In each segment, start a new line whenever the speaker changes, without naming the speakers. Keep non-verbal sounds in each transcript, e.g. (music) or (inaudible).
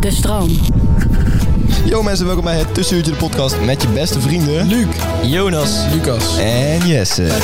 De stroom.
Yo mensen, welkom bij het Tussenuurtje de podcast met je beste vrienden... Luc, Jonas
Lucas.
en Jesse.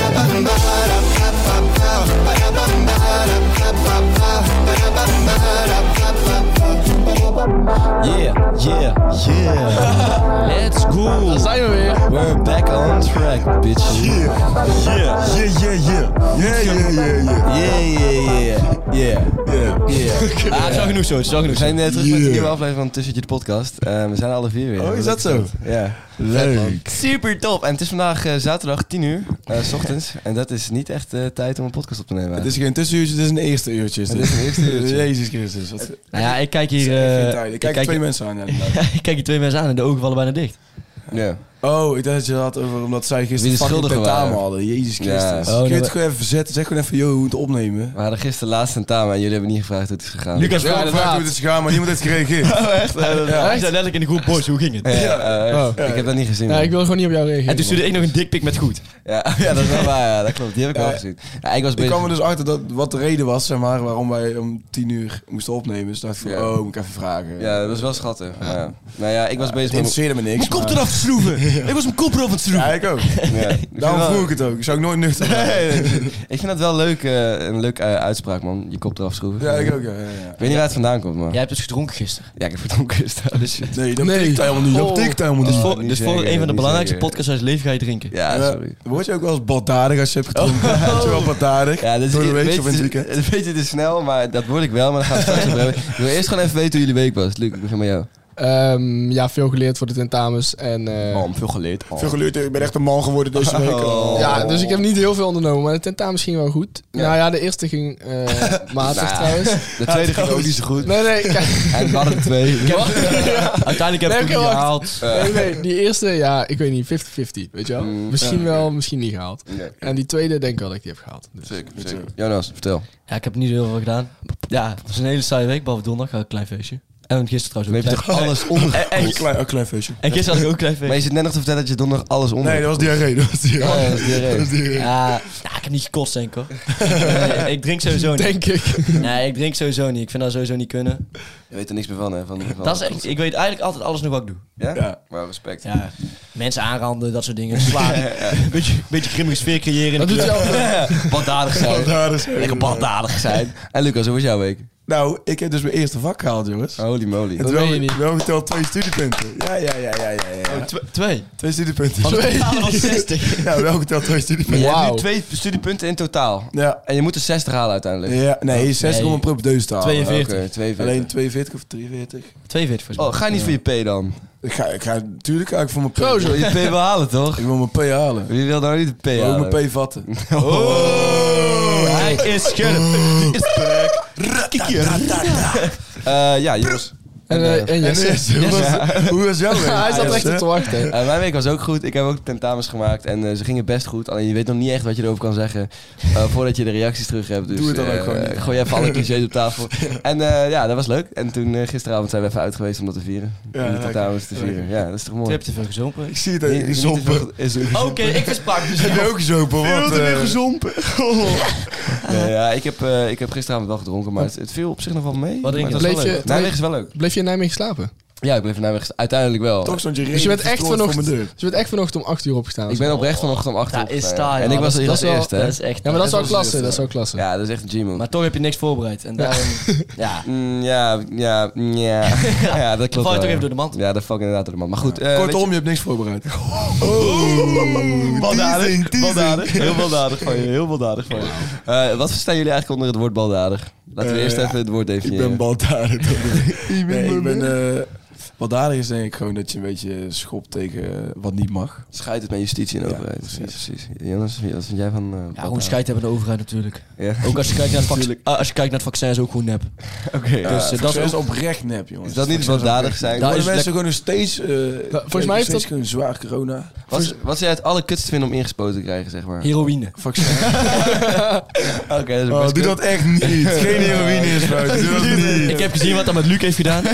Yeah,
Yeah, yeah.
let's go. Daar zijn we weer.
We're back on track, bitch. Yeah,
Yeah, yeah, yeah, yeah. Yeah, yeah, yeah, yeah.
yeah, yeah. Yeah,
Yeah.
yeah.
Ah, het is wel genoeg zo, het is wel
We
genoeg zo.
zijn eh, terug met een
Yeah.
nieuwe aflevering van Tussenuurtje de podcast. Eh, we zijn alle vier weer.
Oh, is dat zo?
Ja. Vet, man.
Leuk.
Super top. En het is vandaag eh, zaterdag 10 uur, eh, s ochtends. En dat is niet echt eh, tijd om een podcast op te nemen.
Het is geen tussenuurtje, het is een eerste uurtje.
Het is een eerste uurtje.
(laughs) Jezus Christus. Wat
Nou ja, ik kijk hier. eh,
geen tijd. Ik kijk twee mensen aan. ja, inderdaad.
ik kijk hier twee mensen aan en de ogen vallen bijna dicht.
Ja.
Oh, ik dacht dat je het had over omdat zij
Wie de
gisteren fucking
schuldigen
tentamen
waren.
hadden. Jezus
Ja.
Christus.
Oh,
Kun je
nou,
het gewoon even verzetten? Zeg gewoon even, yo, we moeten opnemen.
We hadden gisteren laatst een tamen en jullie hebben niet gevraagd hoe het is gegaan.
Lucas
Ja,
vraagt
dat vraagt hoe het is gegaan, maar niemand heeft (laughs) gereageerd.
Oh, echt? Ja, dat-
Ja.
Hij zei letterlijk in de groep, boys, hoe ging het?
Ja, eh,
Oh.
ik heb dat niet gezien.
Ja,
man.
ik wil gewoon niet op jou reageren.
En toen stuurde ik nog een dikpik met goed.
Ja, (laughs) ja, dat is wel waar, ja, dat klopt. Die heb ik
Ja.
wel gezien. Ja, ik was
Ik
bezig.
kwam er dus achter dat wat de reden was, zeg maar, waarom wij om tien uur moesten opnemen. Dus dacht ik van,
Ja.
oh, moet ik even vragen.
Ja, dat was wel schattig. maar ja. Nou ja, ik was
Het
bezig met.
interesseerde me niks. maar-
eraf te schroeven! Ik was mijn kop eraf aan het
Ja, ik ook. (laughs)
Ja. Ik vind
Dus Daarom
wel-
vroeg ik het ook. Ik zou ook nooit nuchter zijn.
(laughs) Ik vind dat wel leuk, eh, een leuke eh, uitspraak, man. Je kop eraf schroeven.
Ja, ik ook. Ja, ja, ja.
Ik weet niet waar het vandaan komt, maar.
Jij hebt dus gedronken gisteren.
Ja, ik heb (laughs) verdronken staan. Dus...
Nee, dat
Nee.
tikt hij helemaal niet. Dat
Oh.
tikt hij helemaal
Dus
niet.
Oh,
voor,
niet
dus voor
zeggen,
een van de
niet
belangrijkste
zeggen.
podcasts uit je leven ga je drinken.
Ja, sorry.
Eh, Word je ook wel eens baldadig als je hebt gedronken? (laughs) Word je wel baldadig?
Ja, dit is
Door de week
weet
of in het
je,
weekend?
het (laughs) weet je te snel, maar dat word ik wel, maar dan gaan we straks over hebben. Ik wil eerst gewoon even weten hoe jullie week was. Luc, ik begin met jou.
Ehm, ja, veel geleerd voor de tentamens. En, eh,
Oh, veel geleerd.
Veel geleerd, ik ben echt een man geworden deze week.
Oh.
Ja, dus ik heb niet heel veel ondernomen. Maar de tentamens ging wel goed.
Ja.
Nou ja, de eerste ging eh matig
Nou.
trouwens.
De tweede ging ook niet zo goed.
Nee, nee, kijk.
En we hadden er twee.
Ik heb- Uiteindelijk heb ik het
Lekker, wacht.
gehaald.
Nee, nee, die eerste, ja, ik weet niet, 50-50, weet je wel?
Mm,
Misschien wel, misschien niet gehaald.
Nee.
En die tweede denk ik wel dat ik die heb gehaald. Dus.
Zeker, zeker. Jonas, vertel.
Ja, ik heb niet heel veel gedaan. Ja, het was een hele saaie week, behalve donderdag had ik een klein feestje. En gisteren
Dan heb
trouwens
je
ook. een
toch alles onder.
(laughs)
klein- En- en-
Een klein, een klein feestje.
En gisteren had ik ook een klein feestje.
Maar je zit net nog te vertellen dat je donderdag alles onder.
Nee, dat was diarree. Dat was
Ja,
diarree.
dat
(laughs)
is diarree.
Ja, ja, ik heb niet gekost, denk ik hoor. Nee, ik drink sowieso niet.
Denk ik.
Nee, ik drink sowieso niet. Ik vind dat sowieso niet kunnen.
Je weet er niks meer van, hè? Van, van-
Dat is echt, ik weet eigenlijk altijd alles nog wat ik doe.
Ja?
Ja.
Maar respect. (laughs)
Ja, mensen aanranden, dat soort dingen. (laughs) Slaan. beetje, beetje grimmige sfeer creëren. in
Dat
de
doet hij
club.
altijd.
(laughs)
Baldadig zijn.
Baldadig.
Lekker baldadig zijn. En Lucas, hoe was jouw week? Oh,
Nou, ik heb dus mijn eerste vak gehaald, jongens.
Holy moly.
Het
dat
wel,
meen je niet.
wel geteld twee studiepunten. Ja, ja, ja, ja, ja. ja.
Oh, tw- twee.
Twee studiepunten.
Van een totaal van 60.
(laughs) Ja, wel geteld twee
Maar
studiepunten.
je hebt
Wauw.
nu twee studiepunten in totaal.
Ja.
En je moet er 60 halen uiteindelijk.
ja. Nee, 60 om een propedeuse te halen.
42.
Oké, 42.
Alleen 42 of 43?
42 volgens mij.
Oh, ga je niet voor je P dan?
Ik ga, ik ga natuurlijk ga ik voor mijn P.
Zo, zo.
Je P wil halen, toch?
Ik wil mijn P halen. Ik
Wie wil nou niet de P
wil
halen?
ook mijn
(laughs)
P vatten.
Oh, hij is scherp. Die is back.
Eh, ja, jongens.
En, eh, en
En
Jesse.
Jesse, hoe was- hoe was jouw week?
(laughs) Hij zat echt op te
Jesse?
wachten. hè.
Eh, mijn week was ook goed. Ik heb ook tentamens gemaakt en eh, ze gingen best goed. Alleen je weet nog niet echt wat je erover kan zeggen eh, voordat je de reacties terug hebt. Dus,
Doe het dan ook
eh,
gewoon niet.
Gooi even alle clichés op
(laughs)
tafel. En eh, ja, dat was leuk. En toen eh, gisteravond zijn we even uit geweest om dat te vieren.
Ja,
om de
lekker. eh,
tentamens te vieren. Ja, dat is toch
Je
mooi.
hebt te veel gezompen.
Ik zie het
Nee,
even
niet te
gezompen.
veel- Oh. is-
Oké, ik verspak
(laughs)
dus
Heb
niet.
je ook gezompen? Wat, eh,
gezompen. Nee, ja, ik, heb, eh,
Oh.
ik heb gisteravond wel gedronken, maar het, het viel op zich nog wel mee.
Wat drink je?
Maar het was wel
Bleef je-
leuk. Nijmegen is wel leuk.
Bleef je in Nijmegen slapen?
Ja, ik bleef in Nijmegen. Uiteindelijk wel.
Toch stond je
Dus je bent, echt vanochtend,
vanochtend voor mijn
dus je bent echt vanochtend om 8 uur opgestaan.
Ik ben oprecht vanochtend om 8 uur
Daar Oh. is
opgestaan.
daar,
En ik was hier als
wel-
eerste, hè?
Dat is echt,
ja, maar dat is wel
dat is-
klasse. Dat is wel klasse.
Ja, dat is echt een G-man.
Maar toch heb je niks voorbereid. En daarom... ja.
(laughs) Mm, ja, ja,
(laughs)
mm, ja. ja, dat klopt.
valt
wel,
toch
ja.
even door de mand.
Ja, dat valt inderdaad door de mand. Maar goed, eh,
deur.
weet je-
Kortom, je hebt niks voorbereid.
baldadig, baldadig. Heel baldadig van je, heel baldadig van je. Eh, wat verstaan jullie eigenlijk onder het woord baldadig? Laten we
Eh,
eerst even het woord
Ik
definiëren.
ben baldadig. nee, ik ben...
baldadig.
eh, baldadig is denk ik gewoon dat je een beetje schopt tegen eh, wat niet mag.
Schijt het met justitie en
Ja,
overheid.
precies.
Ja, precies. Jonas, wat vind jij van eh,
Ja,
baldadig?
gewoon scheid hebben aan de overheid natuurlijk.
Ja.
(laughs) Ook als je kijkt naar het, vac-
Natuurlijk.
ah, als je kijkt naar het vaccin is ook gewoon nep.
Oké.
Dus, eh,
Ja,
dat is
dat is oprecht nep, jongens.
Is dat niet
Succes
baldadig
oprecht
zijn?
nep.
Daar
Worden
is
mensen gewoon nog steeds... eh,
Nou, volgens mij
nog
heeft
steeds
dat-
gewoon zwaar corona.
wat, is- wat zou jij het allerkutst vinden om ingespoten te krijgen, zeg maar?
Heroïne.
Vaccin.
Oké, dat is
Oh, doe dat echt niet. (laughs) Geen heroïne is fout. Doe dat niet.
(laughs) Ik heb gezien wat dat met Luc heeft gedaan.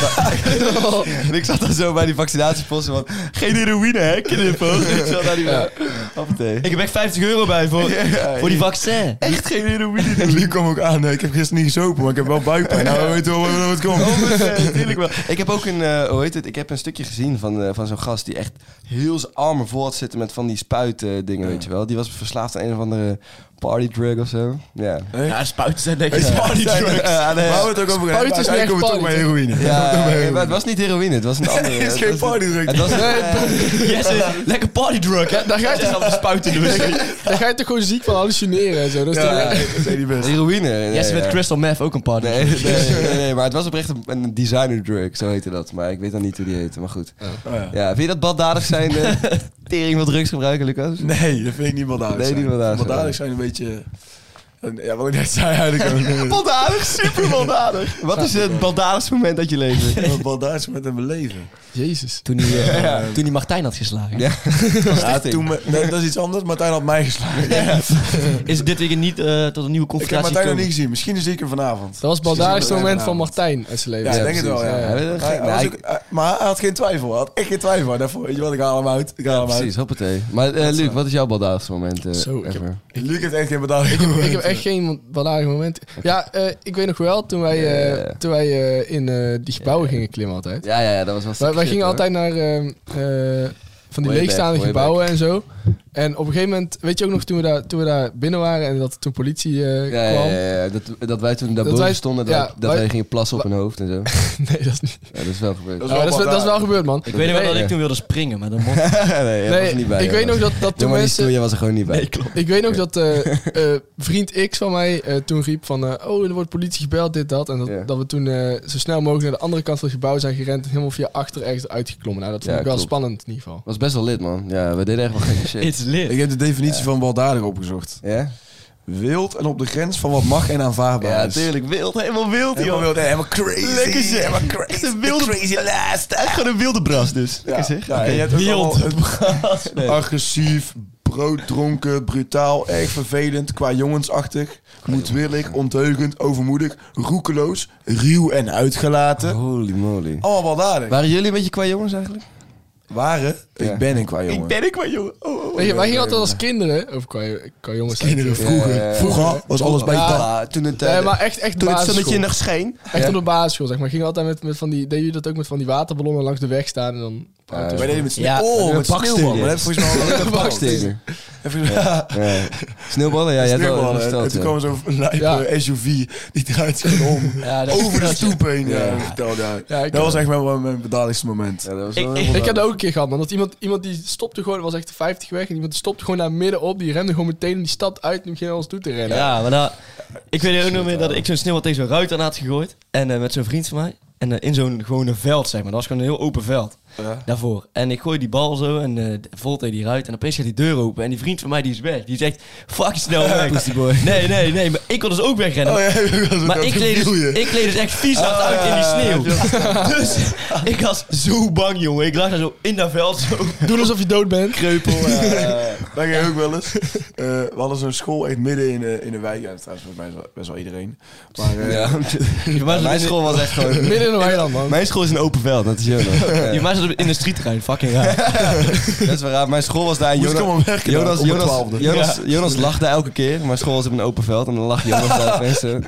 (laughs) En ik zat dan zo bij die vaccinatieposten van... Geen heroïne, hè, knippen.
(laughs)
Ik zat daar niet meer. Hoppatee.
Ik heb echt 50 euro bij voor, voor die vaccin.
Echt geen
(laughs)
heroïne.
En Luc kwam ook aan. nee, Ik heb gisteren niet gezopen, maar ik heb wel buikpijn. Nou, we weten wel waar het komt.
Natuurlijk oh, eh, wel. Ik heb ook een, eh, hoe heet het? Ik heb een stukje gezien van, eh, van zo'n gast die echt heel zijn armen vol had zitten met van die spuitdingen, dingen, weet je wel. Die was verslaafd aan een of andere party drug of zo. Ja.
Ja, spuiten zijn lekker.
Is party drugs.
(laughs) Ja, nee.
We houden het ook over gedaan.
Spuiten is
Uiteindelijk
niet
komen we
echt
toch bij
party,
heroïne. (laughs)
Ja, maar het was niet heroïne, het was een andere.
Het is
het
geen
was-
partydruk. (laughs)
Het was,
Yes, is- lekker partydrug, hè?
daar ga je
Jij
toch-
zat te spuiten dus. doen.
Daar ga je toch gewoon ziek van hallucineren en zo. Dat is toch-
Ja, dat zijn die best.
heroïne. Nee,
Yes, met
ja.
crystal meth ook een party.
Nee,
(laughs)
nee, nee, nee, maar het was oprecht een, een designer drug, zo heette dat. Maar ik weet dan niet hoe die heette, maar goed.
Oh, ja.
Ja, vind je dat baldadig zijn, eh, (laughs) tering van drugs gebruiken, Lucas?
(laughs) Nee, dat vind ik niet baldadig
Nee,
zijn.
niet baldadig zijn.
Baldadig zijn een beetje... Ja, wat ik net zei eigenlijk (laughs) ook. eh,
Baldadig, super baldadig. (laughs) Wat is het baldadigste moment dat je (laughs) leven?
wat Baldadig is met een beleven.
Jezus.
Toen hij, eh, toen hij Martijn had geslagen.
Ja.
Ja, toen me- nee, dat is iets anders. Martijn had mij (laughs) geslagen.
Is dit weekend niet eh, tot een nieuwe
Ik heb
confrontatie
Martijn nog
gekomen?
niet gezien. Misschien zie ik hem vanavond.
Dat was baldadigste
Precies.
moment van Martijn en zijn leven.
Ja, ik denk het wel,
precies,
ja.
ja. Hij was-
Hij- hij was
hij-
ook- hij- Maar hij had geen twijfel. Hij had echt geen twijfel. Hij dacht van, Weet je wat, ik haal hem uit. Ik haal hem uit.
Precies, hoppatee. Maar eh Luc, wat is jouw baldadigste moment eh
Zo, ik heb-
ever?
Luc heeft echt geen baldadig
Ik heb echt geen baldadige moment. Ja, eh, ik weet nog wel, toen wij, eh,
Ja.
toen wij eh, in eh, die gebouwen gingen klimmen altijd.
Ja, ja, ja, dat was wel
Wij,
sick
wij
shit,
gingen
hoor.
altijd naar ehm, eh, van die
Way
leegstaande
back, way
gebouwen en zo. En op een gegeven moment, weet je ook nog toen we daar, toen we daar binnen waren en dat toen politie eh,
Ja, ja,
kwam. (laughs)
ja, ja. Dat, dat wij toen daar
Dat
boven
wij-
stonden, dat,
ja,
wij- dat
wij-
wij gingen plassen op hun hoofd en zo.
Nee, dat is niet.
Ja, dat is wel gebeurd.
Dat
Ja, maar Dat is, wel- dat is wel gebeurd, man.
Ik weet nog wel dat ik toen wilde springen, maar dan mocht ik
(laughs) nee, jij was er niet bij.
ik weet nog dat, dat toen mensen...
jij was er gewoon niet bij.
klopt.
Ik weet nog dat eh, eh, vriend X van mij eh, toen riep van... eh, oh, er wordt politie gebeld, dit, dat. En dat,
Ja.
dat we toen eh, zo snel mogelijk naar de andere kant van het gebouw zijn gerend... en helemaal via achter ergens uitgeklommen. Nou, dat vond
Ja,
ik wel
klopt.
spannend in ieder geval.
was best wel lid, man. Ja, we deden echt wel
(laughs)
gekke shit.
It's lit.
Ik heb de definitie van baldadig opgezocht.
Ja?
Wild en op de grens van wat mag en aanvaardbaar
Ja,
is.
tuurlijk. Wild, helemaal wild,
Helemaal
joh.
wild, helemaal crazy.
Lekker zeg.
Helemaal crazy.
Echt een wilde... Crazy last. Echt gewoon een wilde bras, dus.
Ja,
Lekker zeg.
ja, en je hebt ook
Wild.
allemaal het- agressief, brooddronken, brutaal, erg vervelend, qua jongensachtig, moedwillig, ondeugend, overmoedig, roekeloos, ruw en uitgelaten.
Holy moly.
Allemaal baldadig.
Waren jullie een beetje qua jongens eigenlijk?
Waren?
Ja.
Ik ben een qua jongen.
ben ik qua jongen. Oh, oh.
Weet je, wij gingen altijd als kinderen... Of qua, qua jongens...
Kinderen
zijn.
vroeger.
Ja, ja, ja.
Vroeger was alles bij
Ja.
je
Ah, toen het, eh,
Nee, maar echt, echt
toen het
basisschool.
zonnetje nog scheen.
Echt op de basisschool, zeg maar. Gingen altijd met, met van die... Deden jullie dat ook met van die waterballonnen langs de weg staan en dan...
Ja,
Wij deden met sneeuw.
Ja,
oh, met
bakstenen.
sneeuw, man. Dat heb ik volgens mij al eerder verteld.
Bakstenen.
Even- Ja,
Ja. Sneeuwballen? Ja, jij hebt wel
sneeuwballen.
verteld.
En toen
ja.
kwam zo'n lijpe
Ja.
SUV die draait zich om.
Ja, dat-
Over de
dat-
stoep heen. Ja,
Ja.
dat vertelde hij.
Ja, ik
Dat was echt wel mijn- mijn bedadigste moment.
Ja, dat was
Ik-
wel heel
ik-
Ik heb
belangrijk.
dat ook een keer gehad, man. Dat iemand, iemand die stopte gewoon, er was echt de 50 weg. En iemand die stopte gewoon naar midden op. Die remde gewoon meteen en die stapte uit en die ging naar ons toe te rennen.
Ja, maar nou, ik weet ook nog meer dat ik zo'n sneeuwbal tegen zo'n ruit aan had gegooid. En eh, met zo'n vriend van mij. En eh, in zo'n gewone veld, zeg maar. Dat was gewoon een heel open veld
Ja.
daarvoor. En ik gooi die bal zo en eh vol tegen die ruit. En opeens gaat die deur open. En die vriend van mij die is weg. Die zegt, fuck snel weg. Nee, nee, nee. Maar ik kon dus ook wegrennen.
Oh, ja, dat was-
Maar
dat
ik gleed,
viel
dus,
je.
ik gleed dus echt vies hard uit in die sneeuw. (laughs) Dus ik was zo bang, jongen. Ik lag daar zo in dat veld, zo
Doe alsof je dood
(laughs)
bent.
kreupel.
Oh, (laughs) Dat ging ook wel eens. Eh, we hadden zo'n school echt midden in, eh, in de wijk. Ja, dat is trouwens volgens mij best wel- best wel iedereen. Maar eh,
(laughs) Je was
Mijn school was echt gewoon...
Midden in een weiland, man.
Mijn school is een open veld, dat is Jonas.
Je was in de streetrein, fucking raar.
Dat is wel raar. Mijn school was daar en
Moest ik
Jonas,
allemaal werken dan,
Jonas,
op mijn
Jonas,
twaalfde.
Jonas, Jonas lag daar elke keer. Mijn school was op een open veld en dan lag Jonas eh, daar mensen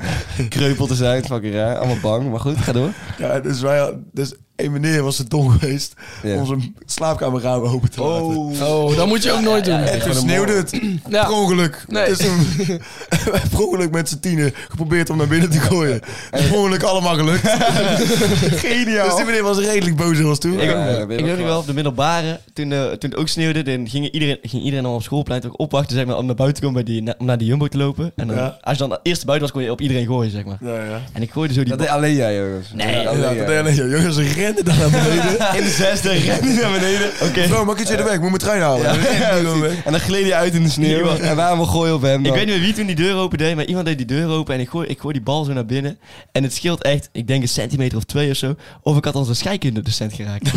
kreupel te zijn. Fucking raar. Allemaal bang, maar goed, ga door.
ja, dus wij, dus een meneer was het dom geweest
Ja.
om zijn slaapkamerraam open te laten.
Oh, dat moet je ook nooit doen.
En toen sneeuwde het.
Ja.
Per ongeluk.
Nee.
Dus toen wij per ongeluk met z'n tienen geprobeerd om naar binnen te gooien. Per ongeluk allemaal gelukt. Geniaal. Dus die meneer was redelijk boos was toen.
Ik, ook
Ja,
nog.
dat weet ik
ik weet nog
wel.
wel, op de middelbare, toen, eh, toen het ook sneeuwde, dan ging iedereen, ging iedereen al op schoolplein toch opwachten zeg maar, om naar buiten te komen bij die, na- om naar de jumbo te lopen. En dan,
Ja.
als je dan eerst buiten was, kon je op iedereen gooien, zeg maar.
Ja, ja.
En ik gooide zo die
Dat deed
bal.
alleen jij, jongens.
Nee,
alleen
Ja,
jij.
dat deed alleen joh. jongens renden daar naar beneden.
In de zesde rende naar beneden. Oké.
Bro, mag ik iets uit de weg? Ik moet mijn trein halen.
Ja,
En dan renden die
precies.
gewoon weg.
en dan gleed hij uit in de sneeuw.
Ja.
En waarom gooien op hem
Ik
dan?
weet niet meer wie toen die deur open deed, maar iemand deed die deur open en ik gooi, ik gooi die bal zo naar binnen. En het scheelt echt, ik denk een centimeter of twee of zo, of ik had al een scheikundedocent geraakt.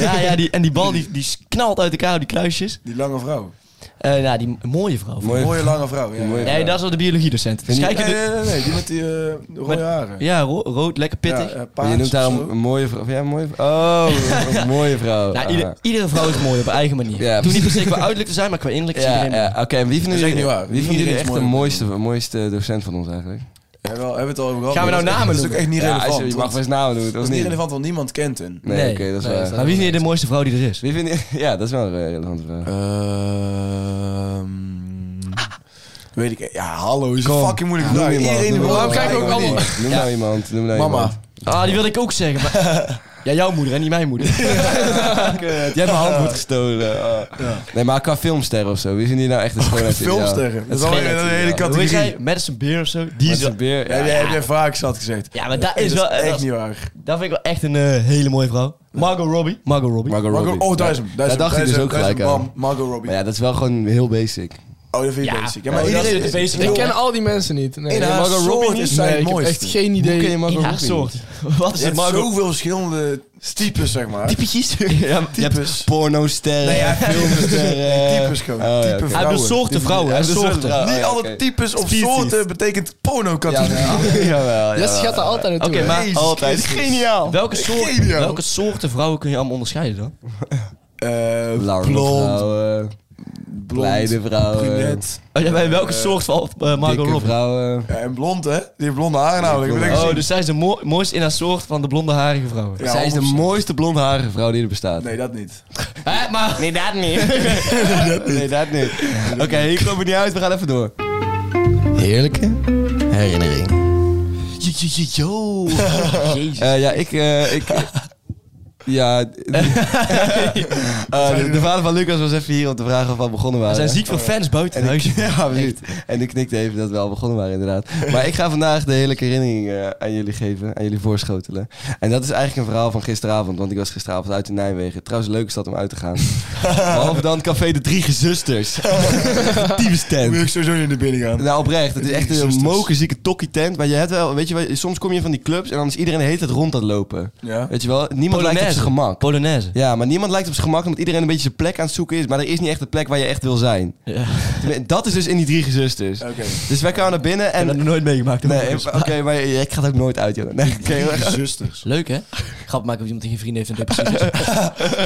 ja, ja, die, en die bal die, die knalt uit elkaar, die kluisjes.
Die lange vrouw.
Eh nou, die mooie vrouw.
Mooie-
Mooie lange vrouw. Ja.
Mooie-
Nee,
Nee, dat is wel de biologiedocent. De
Vind je-
nee,
scheikunde-
nee, nee, nee, Die met die eh, rode
Met-
haren.
Ja, ro- rood, lekker pittig.
Ja, eh,
Maar
paars
je noemt haar
of zo.
een, een mooie vrouw. Ja, een mooie vrouw.
(laughs)
Oh, een mooie vrouw.
nou, ieder- iedere vrouw is mooi op haar eigen manier.
Ja,
Het hoeft niet per se qua uiterlijk te zijn, maar qua
Ah.
innerlijk is
ja,
iedereen
ja.
mooi.
oké. en wie vinden
Dat is echt
jullie,
niet waar.
wie vinden
Iedereen
jullie
is
echt de
mooi.
mooiste, mooiste docent van ons eigenlijk?
Ja, wel, hebben we het al over gehad.
Gaan we
maar
nou
dat is-
namen
Dat is ook echt niet
Ja, als
relevant.
je, je
want
mag best namen doen. Dat
Dat
was
is niet
niet.
relevant, want niemand kent hen.
Nee, oké, dat is
nee,
waar.
Maar wie vind je de mooiste vrouw die er is?
Wie vind je, ja, dat is wel een eh, relevante vraag.
Ehm, weet ik. Ja, hallo. Is
Kom,
een fucking moeilijk
Noem
vraag.
iemand,
Iedereen
noem
wil-
waarom
iemand.
kijken we ook
Iedereen
allemaal?
wil-
Noem nou iemand, noem nou
Mama.
iemand.
Ah, die wilde ik ook zeggen. Maar... Ja, jouw moeder en niet mijn moeder. eh,
Kut, jij hebt mijn
(laughs)
handboek gestolen. Ah. Nee, maar qua filmsterren of zo. Wie vinden die nou echt
(laughs)
de schoonheid?
Filmsterren. Dat is alweer een hele
Hoe heet zij?
categorie.
Madison Beer of zo? Die
Die
is wel-
is beer.
Ja,
Ja,
jij heb jij vaak zat gezegd.
Ja, maar dat
Dat
is
is
wel... Dat,
echt
is-
niet waar.
dat vind ik wel echt een eh, hele mooie vrouw. Margot Robbie. Margot Robbie.
Margot
Margot-
Robbie.
oh, daar is hem. Daar is hem,
dacht
daar
ik
is
dus
hem,
ook
daar is
gelijk
hem.
aan.
Bam, Margot Robbie.
Maar ja, dat is wel gewoon heel
(laughs)
basic.
Oh, dat vind je
Ja.
basic. Ja, maar
Oh, dat
iedereen
is de basic.
Ik
Ik ken
ken
al die mensen niet. Nee,
In haar
Margot
soort
Robbie
is
niet.
zij
Nee,
het
ik heb
mooiste.
echt geen
Hoe ken je
idee.
In
Margot
haar
Robbie?
soort. (laughs) Wat is
je
het,
hebt
Margot?
zoveel verschillende types, zeg maar.
Typetjes. (laughs) Ja, maar je hebt-
Types.
Pornosterren,
Nee, ja,
(laughs) filmsterren.
Types gewoon.
Oh, ja,
Type
oké.
vrouwen.
Hij wil soorten vrouwen.
Ja,
hè,
dat is
soorten.
wel-
Niet
Oh, ja,
alle
oké.
types of
Species.
soorten betekent porno-categorie. (laughs)
Jawel,
Jesse gaat daar altijd naartoe.
Oké,
hè?
maar
Jezus
altijd
Christus.
geniaal. Welke, soort-
Geniaal.
welke soorten vrouwen kun je allemaal onderscheiden dan?
Eh,
Blonde
Blond,
vrouwen,
blond,
blijde vrouwen,
brunet.
Oh, ja, bij welke soort valt eh, Margot
dikke
Robbie?
vrouwen.
Ja, en blond, hè? Die heeft blonde haren namelijk.
Ja,
Ik
blond.
denk,
Oh, dus zij is de mo- mooiste in haar soort van de blonde harige vrouwen.
Ja,
Zij is de
100%.
mooiste blondharige vrouw die er bestaat.
Nee, dat niet.
Hè, maar... Nee, dat niet.
Nee, dat
(laughs)
niet. Oké, hier komen we niet uit. We gaan even door. Heerlijke herinnering.
Yo. Jezus.
Eh, ja, ik... eh, ik ja... (laughs) eh, de, de vader van Lucas was even hier om te vragen of we al begonnen
Er
waren.
zijn ziek veel fans buiten
En ik, (laughs)
huis.
ja, precies. En ik knikte even dat we al begonnen waren, inderdaad. Maar ik ga vandaag de hele herinnering eh, aan jullie geven, aan jullie voorschotelen. En dat is eigenlijk een verhaal van gisteravond, want ik was gisteravond uit in Nijmegen. Trouwens, een leuke stad om uit te gaan. Behalve dan Café de Drie Gezusters. Tieve
Dan moet
tent.
ik sowieso niet naar binnen gaan.
Nou, oprecht. Het is echt een
Gezusters.
mokerzieke tokkie tent. Maar je hebt wel, weet je, wel, soms kom je van die clubs en dan is iedereen de hele tijd rond aan het lopen.
Ja.
Weet je wel? Niemand lijkt op
Polonaise.
zijn gemak.
Polonaise.
Ja, maar niemand lijkt op zijn gemak omdat iedereen een beetje zijn plek aan het zoeken is. Maar er is niet echt de plek waar je echt wil zijn.
Ja.
Dat is dus in die drie gezusters.
Oké.
Dus wij kwamen naar binnen en...
nog nooit meegemaakt.
nee, oké, maar je- ik ga het ook nooit uit, joh. Nee, oké, maar-
(laughs) Zusters.
Leuk, hè? Grap maken of iemand die geen vrienden heeft en depressief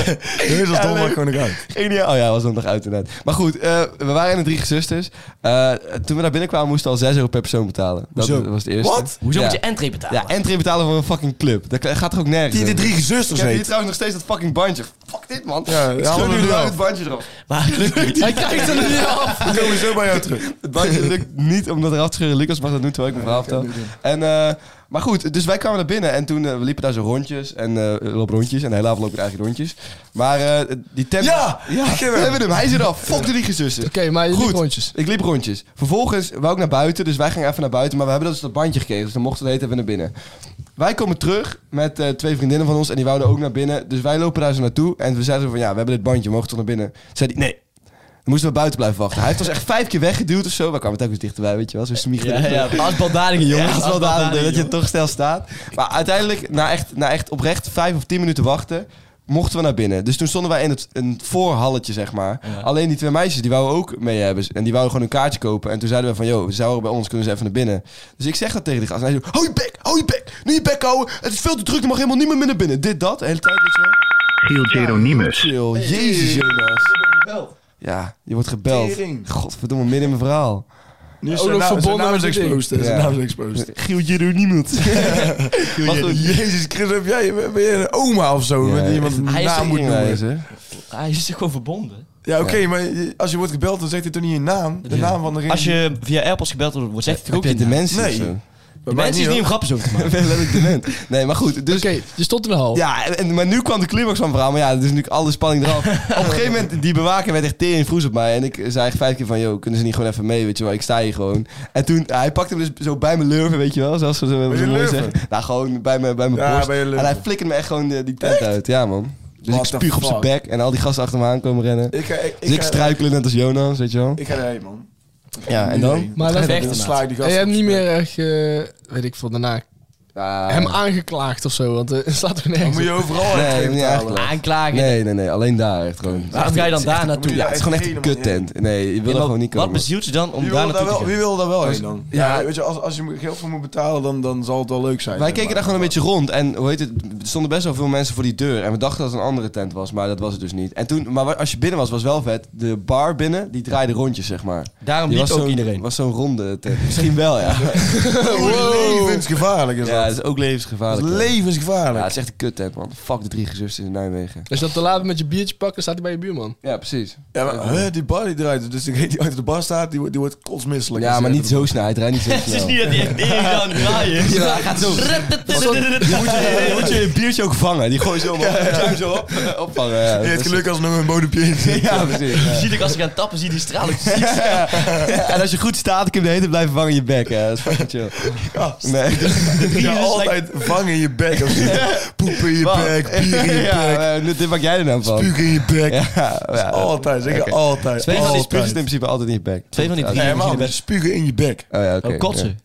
is.
Heus als dom, maar
leuk.
gewoon eruit.
Geniaal. Oh ja, was dan nog uit inderdaad. Maar goed, eh, we waren in de drie gezusters. Eh, toen we daar binnenkwamen moesten we al 6 euro per persoon betalen. Dat
Hoezo?
was het eerste.
Wat?
Hoezo
Ja.
moet je entree betalen?
Ja, entree betalen voor een fucking club. Dat gaat toch ook nergens
Die de
over?
drie
Ik
zusters
heb hier
heet.
trouwens nog steeds dat fucking bandje. Fuck dit, man.
Ja,
ik
haal
schud
hem
nu
er
wel
af.
het bandje eraf.
Maar het lukt niet.
Hij kijkt er niet af.
We komen zo bij jou (laughs) terug.
(laughs) Het bandje lukt niet om dat eraf te scheuren. Lucas mag dat doen, terwijl ik mijn verhaal vertel. En, eh, maar goed, dus wij kwamen naar binnen en toen eh, we liepen daar zo rondjes. En eh, we lopen rondjes en de hele avond lopen we eigenlijk rondjes. Maar eh, die tent...
Ja!
Ja, (laughs)
Ik heb
we
hem.
hebben hem. Hij zit af. Fuck de liegezussen.
Oké, maar je
Goed.
liep rondjes.
Ik liep rondjes. Vervolgens wou ik naar buiten, dus wij gingen even naar buiten. Maar we hebben dus dat bandje gekregen, dus dan mochten we het even naar binnen. Wij komen terug met eh, twee vriendinnen van ons en die wouden ook naar binnen. Dus wij lopen daar zo naartoe en we zeiden zo van ja, we hebben dit bandje, we mogen toch naar binnen? Toen Zei hij, nee. Dan moesten we buiten blijven wachten. Hij heeft ons echt vijf keer weggeduwd of zo. We kwamen telkens dichterbij, weet je wel. Zo smiegelen.
Ja, ja. Als baldadige
Ja,
jongens.
dat is wel duidelijk dat je
jongens.
toch stil staat. Maar uiteindelijk, na echt, na echt oprecht vijf of tien minuten wachten, mochten we naar binnen. Dus toen stonden wij in het, in het voorhalletje, zeg maar.
Ja.
Alleen die twee meisjes, die wouden ook mee hebben. En die wouden gewoon een kaartje kopen. En toen zeiden we van, joh, ze houden bij ons, kunnen ze even naar binnen. Dus ik zeg dat tegen die gast. En hij zo, hou je bek, hou je bek. Nu je bek houden. Het is veel te druk, er mag helemaal niemand meer naar binnen. Dit, dat, de hele tijd, weet je wel.
Giel Geronimus.
Chill, jezus Jonas. Ja, je wordt gebeld.
Tering.
Godverdomme, midden in mijn verhaal.
Nu
Ook nog verbonden
naam
met
is
die ding.
exposed. hè. Zijn
Ja.
naam is exposed.
Giel Jeroen
(laughs)
niemand.
Wat een- (laughs) Jezus Christus, heb jij, ben jij een oma of zo?
Ja.
Met iemand een
Hij is
naam moet
een
noemen.
Hij is toch gewoon verbonden?
Ja, oké, maar je- als je wordt gebeld, dan zegt hij toch niet je naam? De
Ja.
naam van degene...
Als je via AirPods gebeld wordt, zegt hij toch ook
Heb je
je naam?
dementie
Nee.
of zo?
Bij mij
Mensen is
hoor.
niet om grapjes over te
(laughs)
maken.
Ik ben letterlijk dement. Nee, maar goed. Dus,
Oké, je stond in de hal.
ja, en, maar nu kwam de climax van het verhaal. Maar ja, dus nu alle spanning eraf.
(laughs)
op een gegeven moment, die bewaker werd echt tering vroes op mij. En ik zei echt vijf keer van, joh, kunnen ze niet gewoon even mee, weet je wel. Ik sta hier gewoon. En toen, hij pakte me dus zo bij mijn lurven, weet je wel. Zoals ze zo, zo mooi
lurven?
zeggen. Nou, gewoon bij mijn, bij mijn
Ja,
borst.
bij je lurven.
en hij flikkerde me echt gewoon eh, die tent uit. Ja, man. Dus
What
ik
the
spuug op zijn
fuck?
bek en al die gasten achter me aan komen rennen.
Ik ga, ik, eh,
Dus ik
ga-
struikelen net als Jonas, weet je wel.
Ik ga erheen, man. Ik ga
Ja,
er
en
nu
dan?
heen.
Maar
Ik
dat
ga
is echt
dan
een
sla ik die
En
gasten
je hebt
op
niet
zijn
meer echt, eh, weet ik veel, daarna
Ah.
hem aangeklaagd of zo. Want eh, (laughs) het slaat er
bek. Dan
nergens
moet je
op.
overal
Nee,
uitgeven
niet
te halen.
eigenlijk.
Aanklagen.
Nee, nee, nee. Alleen daar echt gewoon.
Waarom ga je dan daar naartoe?
moet je
Ja,
daar
het is gewoon echt een
helemaal niet heen.
kuttent. Nee, je wil er
Ja, maar
gewoon niet
Wat
komen.
bezielt je dan om
Wie
daar
wil, daar
naartoe te
wel, wie wil
gaan?
daar wel heen
is-
dan?
ja.
Ja, weet je, als, als je er geld voor moet betalen, dan, dan zal het wel leuk zijn.
Wij
zeg
keken
maar.
daar gewoon een beetje rond en hoe heet het, er stonden best wel veel mensen voor die deur. En we dachten dat het een andere tent was, maar dat was het dus niet. En toen, maar wa- als je binnen was, was wel vet. De bar binnen, die draaide rondjes, zeg maar.
Daarom
Die
liep
was
ook
zo'n-
iedereen.
was zo'n ronde tent. Misschien wel, ja.
(laughs) Wow. Levensgevaarlijk
(laughs)
is
ja,
dat.
dat is ook
Dat
levensgevaarlijk.
is
ja. Ja,
levensgevaarlijk.
het is echt een kuttent, man. Fuck de drie gezusters in Nijmegen.
Als je dat te laat bent met je biertje pakken, staat hij bij je buurman.
Ja, precies.
Ja, maar hè, die bar die draait, dus degene die achter de bar staat, die, wordt- die wordt kotsmisselijk. Dus
Ja,
Als
maar
je
niet
achter
zo snel. Hij draait niet (laughs) zo
(laughs) Het is
snel.
niet dat hij echt eerlijk aan het draaien is.
(laughs) Ja, hij gaat zo.
(laughs)
Dan moet je een biertje ook vangen. Die gooi je zo, man. Moet je hem zo op, opvangen. Ja,
de bar- Je
dat
hebt
is-
geluk als er nog een bodempje in
(laughs)
zit.
Ja, precies.
Je ziet ook als ik aan het tappen zie die
(laughs)
stralen.
En als je goed staat, kun je de hele tijd blijven vangen in je bek. Ja, dat is fucking chill.
Gast.
Nee.
Ja,
is
altijd
(laughs)
vangen in je bek. Of zo. Poep in je
Wat?
bek, bier in
(laughs)
je
Ja,
bek,
maar dit maak jij er nou van.
puuk in je bek.
Ja, ja.
Altijd, zeg je
Oké.
altijd.
Twee
Twee
van die
altijd.
spugen zitten in principe altijd in je bek.
Twee van die drie.
Ja.
Nee,
in je
man,
bek.
spugen in je bek.
Oh ja, oké.
Oh, kotsen.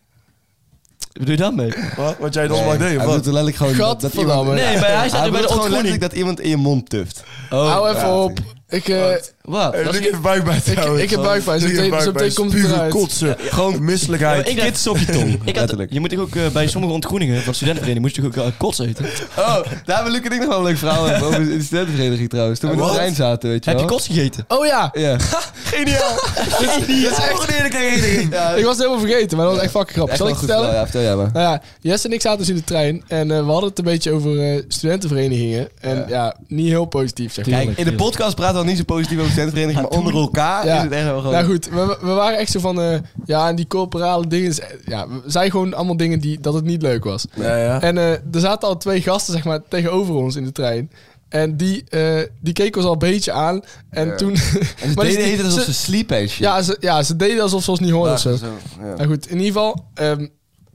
Wat bedoel je daarmee?
Wat, wat jij dan maar deed, of
Hij
wat?
doet er letterlijk gewoon dat, dat
Gadverdamme.
iemand...
Nee, maar hij staat
Hij
er bij
doet
de
gewoon letterlijk
ontgroening.
dat iemand in je mond tuft.
Hou even op. Ik, eh,
Oh, Wat?
Eh,
Dat is
Luc heeft buikpijn trouwens.
ik heb buikpijn, zo
Luc heeft
meteen- zo
buikpijn.
meteen komt het
Spugen,
eruit.
kotsen, gewoon
Ja, maar
misselijkheid.
ik Kids op je tong. Ik
(laughs)
had,
Letterlijk.
je moet toch ook eh, bij sommige ontgroeningen van studentenvereniging moest je toch ook eh, kots eten.
Oh, daar wil ik en ik nog wel een leuk verhaal hebben over de studentenvereniging trouwens. Toen we in de
Wat?
trein zaten, weet je
Heb je
wel.
kots gegeten?
oh ja,
(laughs) Ja.
Geniaal.
dat is echt-
Ja,
ik was het helemaal vergeten, maar dat was echt fucking grappig.
echt
Zal
wel goed
ik het vertellen?
verhaal. Ja, vertel jij maar.
Nou ja, Jesse en ik zaten dus in de trein en eh, we hadden het een beetje over eh, studentenverenigingen. En ja. niet heel positief, zeg maar.
Kijk, in de podcast praten we niet zo positief over de studentenvereniging, maar onder elkaar
Ja.
Ah, is het echt wel gewoon...
Nou goed, we, we waren echt zo van, eh, ja, en die corporale dingen, is- ja, we zijn gewoon allemaal dingen die, dat het niet leuk was.
Ja, ja.
En eh, er zaten al twee gasten, zeg maar, tegenover ons in de trein. En die, eh, die keken ons al een beetje aan. En toen...
En
(laughs)
ze
maar
deden
die-
het alsof ze sliepen en shit.
ja, ze, ja, ze deden alsof ze ons niet hoorden of zo.
Ja.
Nou goed, in ieder geval, ehm,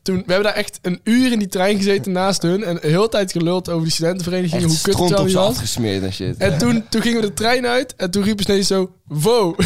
toen, we hebben daar echt een uur in die trein gezeten naast hun. En heel de tijd geluld over die studentenvereniging,
Echt
hoe kut het
stront
wel
op
niet
ze
was.
afgesmeerd en shit.
En toen, toen gingen we de trein uit en toen riepen ze ineens zo, wow.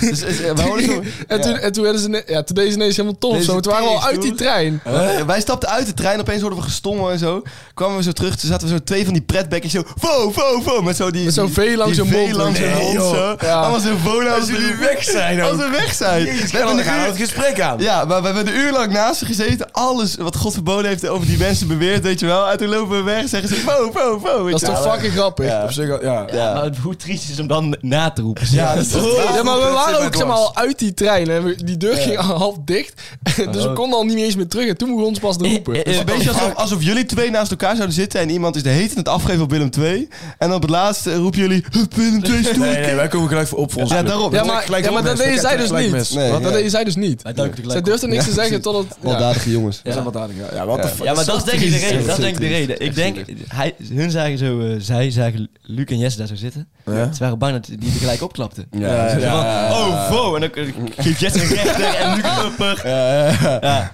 Dus, dus, eh, we hoorden zo- (laughs)
(laughs) En,
Ja.
toen, en toen, werden ze, ne- ja, toen deden ze ineens helemaal tof.
Deze
Zo. Toen waren we al
teringstoer.
uit die trein.
Huh? Wij stapten uit de trein, opeens hoorden we gestommel en zo. Kwamen we zo terug, toen zaten we zo twee van die pretbekken zo... Wow, wow, wow, met zo die...
Met zo'n
die-
vee langs
die
hun
vee
mond.
langs hun
Nee,
mond,
joh.
zo.
Ja.
Allemaal zo'n voo langs hun-
weg zijn
Als we weg zijn. we hebben
dan
een
gaan we
uur-
het gesprek aan.
Ja, maar we hebben een uur lang naast ze gezeten. Alles wat God verboden heeft over die mensen beweerd, weet je wel. En toen lopen we weg en zeggen ze... Wow, wow, wow. weet
Dat is
je
toch
wel.
fucking grappig.
Ja.
Op zich, al- ja.
Ja.
Maar het- hoe triest is het om dan na te roepen?
Ja, dat is
Ja, maar we
Dat zit
waren
mij
ook zeg maar,
dwars.
al uit die trein. En we- die deur ging al half dicht. (laughs) Dus we konden al niet eens meer terug. En toen moesten we ons pas roepen.
Eh,
Het
eh,
is
eh,
een beetje alsof, alsof jullie twee naast elkaar zouden zitten en iemand is de heet in het afgeven op Willem 2. En op het laatste roepen jullie, "Hup, Willem 2 is
Nee, nee, wij komen gelijk voor op voor ons.
Ja,
club.
daarom.
Ja,
Dat
maar,
gelijk
ja, maar
opmes.
dat deden
We
zij dus
krijgen gelijk
niet.
mes.
Nee,
Want dat
ja.
deden zij dus niet. Zij durfden niks te zeggen
(laughs)
totdat... ja.
Baldadige jongens.
We zijn wat aan de gang. Ja, wat de fuck.
Ja, maar dat is denk ik de
triest.
reden. Dat is denk ik de
Zo
reden. Ik denk, hij, hun zagen zo, eh, zij zagen Luc en Jesse daar zo zitten. Ze waren bang dat die tegelijk opklapten.
Ja, ja,
Zo van, oh, wow. En dan eh, geeft Jesse (laughs) een rechter en Luc een upper.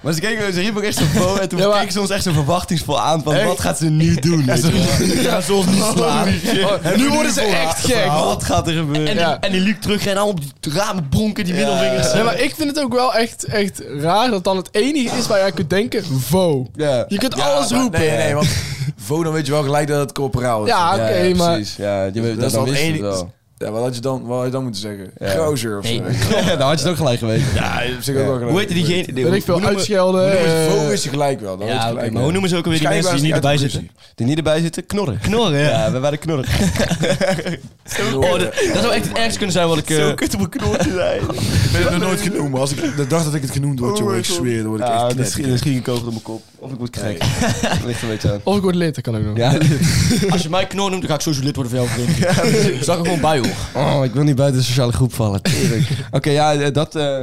Maar ze, keken, ze riepen ook echt zo voor en toen
Ja, maar-
keken ze ons echt zo verwachtingsvol aan van
Echt?
wat gaat ze nu doen? weet je wel.
Ja, zoals niet slaan.
(laughs) Oh, nu worden ze echt gek.
Wat gaat er gebeuren?
En,
Ja.
die, en die Luc terugrennen, allemaal op die ramen bronken, die middelvingers.
Ja, maar ik vind het ook wel echt, echt raar dat dan het enige is waar je aan kunt denken, vo.
Ja.
Je kunt
Ja,
alles
maar-
roepen.
Nee, nee, want Vo, dan weet je wel gelijk dat het corporaal is.
Ja, oké, maar...
precies. Ja, die-
Dat is
dan wisten
al het
we het
enige.
wel.
Ja, wat had je dan, wat had je dan moeten zeggen?
Ja.
Gozer of
Nee.
zo.
Dan had je het ook gelijk geweten.
Ja, op zich ook
Ja.
wel gelijk.
Hoe heette diegene?
Ben ik veel uitschelden.
Nee,
eh,
Vogel is je gelijk wel. Dan weet je
Ja,
gelijk
maar hoe noemen ze ook alweer die mensen die niet
Waarschijnlijk
erbij
was
zitten?
Die niet erbij zitten, knorren.
Knorren, ja.
(laughs) Ja, we waren knorren.
Oh, dat, dat zou echt het ergste kunnen zijn wat ik... eh,
kut op een knorretje zijn.
Ik ben het nog nooit genoemd. maar Als ik de dag dat ik het genoemd
Oh
word, jongen, ik zweer, dan word ik
Ja,
echt
dan schiet dan
knettergek.
schiet ik een kogel op mijn kop. Ah, Of ik word gek. (laughs) Ligt een beetje aan.
Of ik word lid, dat kan ook
(laughs)
nog.
Ja,
Als je mij knor noemt, dan ga ik sowieso lid worden van jouw vriendin. Zag er gewoon bij, hoor.
oh, ik wil niet buiten de sociale groep vallen. Tering. (laughs) Oké, ja, eh, dat, eh, dat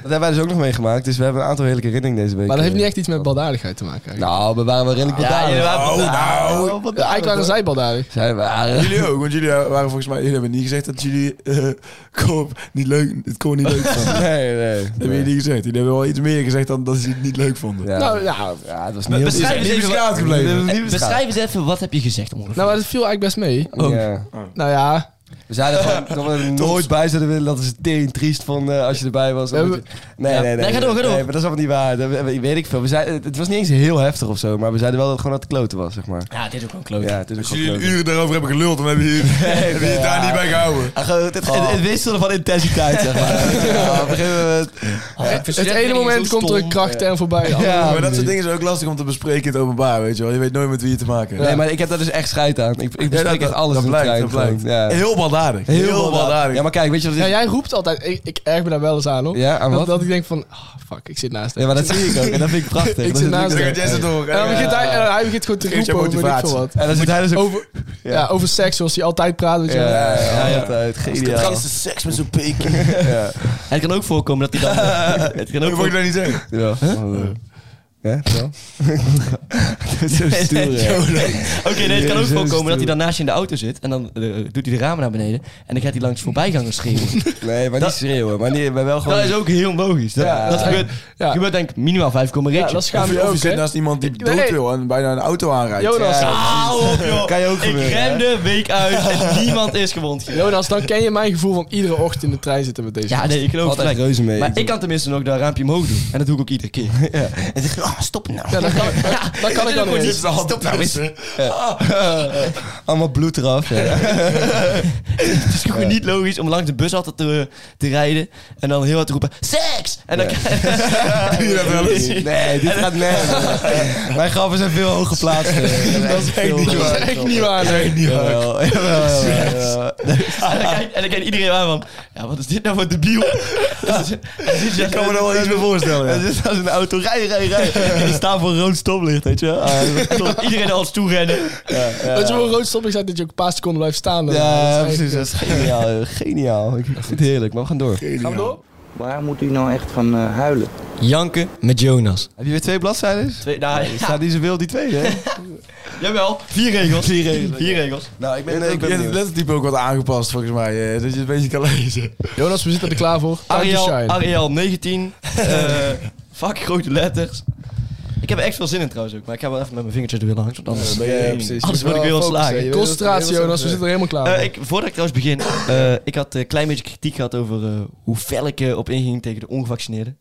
hebben wij dus ook nog meegemaakt. Dus we hebben een aantal heerlijke herinneringen deze week.
Maar dat heeft niet
Eh,
echt iets met baldadigheid te maken. Eigenlijk,
Nou, we waren wel redelijk
Ja,
bedaard.
jullie waren-
nou.
Ja, eigenlijk waren zij baldadig.
Zij (laughs) waren...
Jullie ook, want jullie waren volgens mij... Jullie hebben niet gezegd dat jullie... eh (laughs) kom, niet leuk, het kon niet leuk vonden. Dat
Nee, nee.
hebben jullie niet gezegd. Jullie hebben wel iets meer gezegd dan dat ze het niet leuk vonden.
Ja.
Nou, ja.
ja, het was
Be-
niet heel...
beschrijf eens
niet
even
beschaafd
wat-
gebleven.
Eh, Beschrijf eens even, wat heb je gezegd? ongeveer?
Nou, maar dat viel eigenlijk best mee.
Ja.
Nou ja,
We zeiden gewoon dat we er nooit bij zouden willen. Dat is tering triest van eh, als je erbij was.
Ja,
Nee,
we-
nee, nee.
Ja,
nee,
nee, ga door, ga door.
Nee, maar dat is allemaal niet waar. Dat, we- weet ik veel. We zeiden, het- het was niet eens heel heftig of zo. Maar we zeiden wel dat het gewoon dat het kloten was, zeg maar.
Ja, dit is ook wel een kloot.
Ja, het is ook
Als
wel
Dus jullie een
kloten.
uur daarover hebben geluld, dan hebben
(laughs)
jullie hebben jullie het daar niet bij gehouden. Oh,
Ah, gewoon Het, het, het wisselen van intensiteit, zeg maar. Ja, op een gegeven moment-
het ene moment komt er een krachtterm voorbij. Ja.
Ja,
maar dat
precies.
soort dingen is ook lastig om te bespreken in het openbaar, weet je wel. Je weet nooit met wie je te maken
(laughs)
hebt.
Nee, maar ik heb daar dus echt scheid aan. Ik, ik bespreek echt alles
dat
in de
blijkt,
trein
dat
gewoon.
blijkt.
Ja.
Heel baldadig. Heel, baldadig.
Ja, maar kijk, weet je wat het is?
jij roept altijd, ik, ik erg me daar wel eens aan op.
Ja, aan
dat,
wat?
dat ik denk van, ah, fuck, ik zit naast hem.
Ja, maar dat zie ik ook. En dat vind ik prachtig.
Ik
Dat
zit
is-
naast
dan
hem.
gaat Jesse eh, door.
En dan begint hij, en hij begint gewoon te
Geeft je
roepen over weet ik veel wat.
En dan zit hij dus ook...
Over, ja. over seks, zoals hij altijd praat. Weet je wel.
Ja, ja, ja, altijd. Geniaal.
seks met zo'n (laughs) pik.
Het kan ook voorkomen dat hij (laughs) dan... het kan ook
Dat moet ik
voorkomen...
dat niet zeggen.
Ja. Ja, zo. Dat is zo
Nee,
stoer,
nee,
hè.
Oké, nee, het kan ook
Jezus,
voorkomen dat hij
dude.
dan naast je in de auto zit en dan eh, doet hij de ramen naar beneden en dan gaat hij langs voorbijgangers (laughs) schreeuwen.
Nee, maar niet
Dat-
schreeuwen. Maar, niet, maar wel gewoon...
Dat is ook heel logisch. Dat,
Ja.
dat gebeurt,
Ja.
gebeurt denk ik minimaal vijf keer
Ja, dat
Of
schaam
je,
je
of je
ook,
zit
hè?
naast iemand die
Nee,
dood
nee.
wil en bijna een auto aanrijdt.
Jonas,
Hou op, joh.
Kan je ook
ik
gebeuren, hè?
remde week uit (laughs) en niemand is gewond. geraakt.
Jonas, dan ken je mijn gevoel van iedere ochtend in de trein zitten met deze
Ja, nee, ik geloof het
Altijd
gelijk.
reuze mee.
Maar ik kan tenminste nog dat raampje omhoog doen. En dat doe ik ook iedere (laughs) keer. En zeg ik, ah, stop nou.
Ja, dat kan, dat, dat kan ik dan
gewoon
niet.
niet. Stop nou eens.
Allemaal bloed eraf. Ja.
Het is gewoon niet logisch om langs de bus altijd te, te rijden. En dan heel hard te roepen, seks! En dan
Nee, dit gaat nergens. Mijn grappen zijn veel hoger (laughs) geplaatst.
Dat is echt niet
Dat is echt niet waar. nee.
Jawel, jawel, jawel, jawel.
En dan kijkt- en dan kijkt iedereen aan van, ja, wat is dit nou voor debiel? Ik
kan me daar wel iets meer voorstellen.
Het
ja.
is als een auto. Rij, rij, rij.
En die staan voor een rood stoplicht, weet je wel. Ah, tot iedereen als toe rennen.
Dat je voor een rood stop staat dat je ook een paar seconden blijft staan. eh, dan-
Ja,
dat is
precies.
echt-
Dat is geniaal. joh. Geniaal. Ik vind het heerlijk. Maar we gaan door.
Gaan we door?
Waar moet u nou echt van eh, huilen?
Janken met Jonas.
Heb je weer twee bladzijden?
Twee, nou, ja,
Staat die zoveel die tweede, hè?
jawel, vier regels. Vier regels. Vier regels.
Nou, ik
Je hebt- Je hebt het lettertype ook wat aangepast, volgens mij. eh, Dat je het een beetje kan lezen.
Jonas, we zitten er klaar voor. Time to
Ariel,
shine.
Ariel 19. eh fuck grote letters. Ik heb er echt veel zin in trouwens ook, maar ik ga wel even met mijn vingertjes er weer langs, want anders... Anders word ik weer ontslagen.
Concentratie, Jonas, we zitten er helemaal klaar
Eh,
Oh,
voor.
ik, voordat ik trouwens begin, eh, ik had een klein beetje kritiek gehad over eh, hoe fel ik eh, op inging tegen de ongevaccineerden.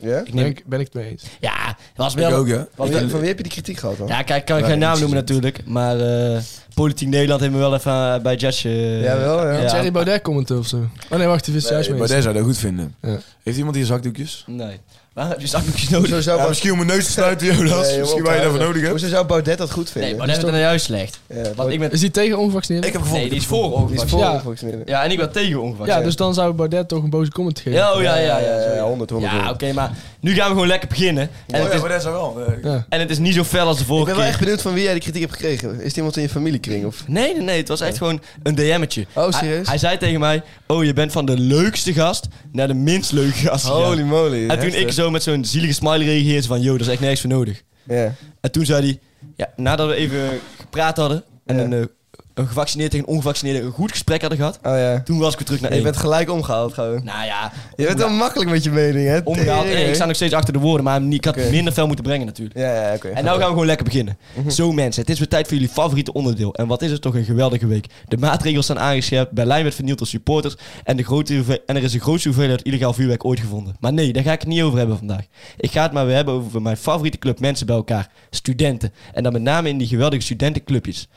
Ja?
Ik
ben,
neem,
ik, ben ik het mee eens.
ja, het was
Ik
wel...
ook, hè?
Van wie, van wie heb je die kritiek gehad dan?
Ja, kijk, ik kan ik geen naam noemen natuurlijk, maar eh, Politiek Nederland heeft me wel even eh, bij Judge... eh,
Jawel, ja.
Thierry Baudet commenten of zo. Oh nee, wacht, die is juist mee
Maar
eens.
dat eh, zou dat goed vinden.
Ja.
Heeft iemand hier zakdoekjes?
Nee. Waar heb je zakdoekjes nodig?
Hoezo zou
Ja,
Baudet-
misschien om mijn neus te sluiten, Jonas.
Nee, joh, eh,
misschien waar je daarvoor nodig hebt.
Hoezo zou Baudet dat goed
Nee,
vinden?
maar dat is dan juist slecht.
Ja,
Want
Baudet-
ik ben...
Is die tegen ongevaccineerden?
Ik heb
Nee,
gevonden.
die is voor
Die Eh, is
ongevaccineerd.
voor
Ja.
ongevaccineerden.
Ja, en ik ben tegen ongevaccineerd.
Ja, dus dan zou Baudet toch een boze comment geven.
Ja, oh, ja, ja, ja.
ja,
sorry.
100, 100.
Ja, oké, maar nu gaan we gewoon lekker beginnen. En,
Oh
het,
ja,
is,
maar dat zou wel. eh,
Ja.
en het is niet zo fel als de
Ik
vorige
ben wel
keer.
echt benieuwd van wie jij die kritiek hebt gekregen. Is het iemand in je familiekring? Of...
Nee, nee, nee. Het was echt gewoon een DM'tje.
Oh,
Hij,
serieus?
hij zei tegen mij, oh, je bent van de leukste gast naar de minst leuke gast gegaan.
Holy moly.
En toen ik zo met zo'n zielige smiley reageerde van, yo, daar is echt niks voor nodig.
Ja.
En toen zei hij, ja, nadat we even gepraat hadden en
Ja.
een, eh, een gevaccineerd tegen een ongevaccineerde een goed gesprek hadden gehad,
Oh ja.
toen was ik weer terug naar
Je
één.
bent gelijk omgehaald gewoon.
Nou ja,
Je bent wel makkelijk met je mening, hè?
omgehaald.
Tering,
Nee, ik sta nog steeds achter de woorden, maar ik had
Oké.
minder fel moeten brengen natuurlijk.
hè? Ja, ja, oké.
En nou gaan we gewoon lekker beginnen. Zo mensen, het is weer tijd voor jullie favoriete onderdeel. En wat is het toch een geweldige week. De maatregels zijn aangescherpt, Berlijn werd vernield door supporters... en, de grote hoeveel- en er is de grootste hoeveelheid illegaal vuurwerk ooit gevonden. Maar nee, daar ga ik het niet over hebben vandaag. Ik ga het maar weer hebben over mijn favoriete club mensen bij elkaar. Studenten. En dan met name in die geweldige studentenclubjes.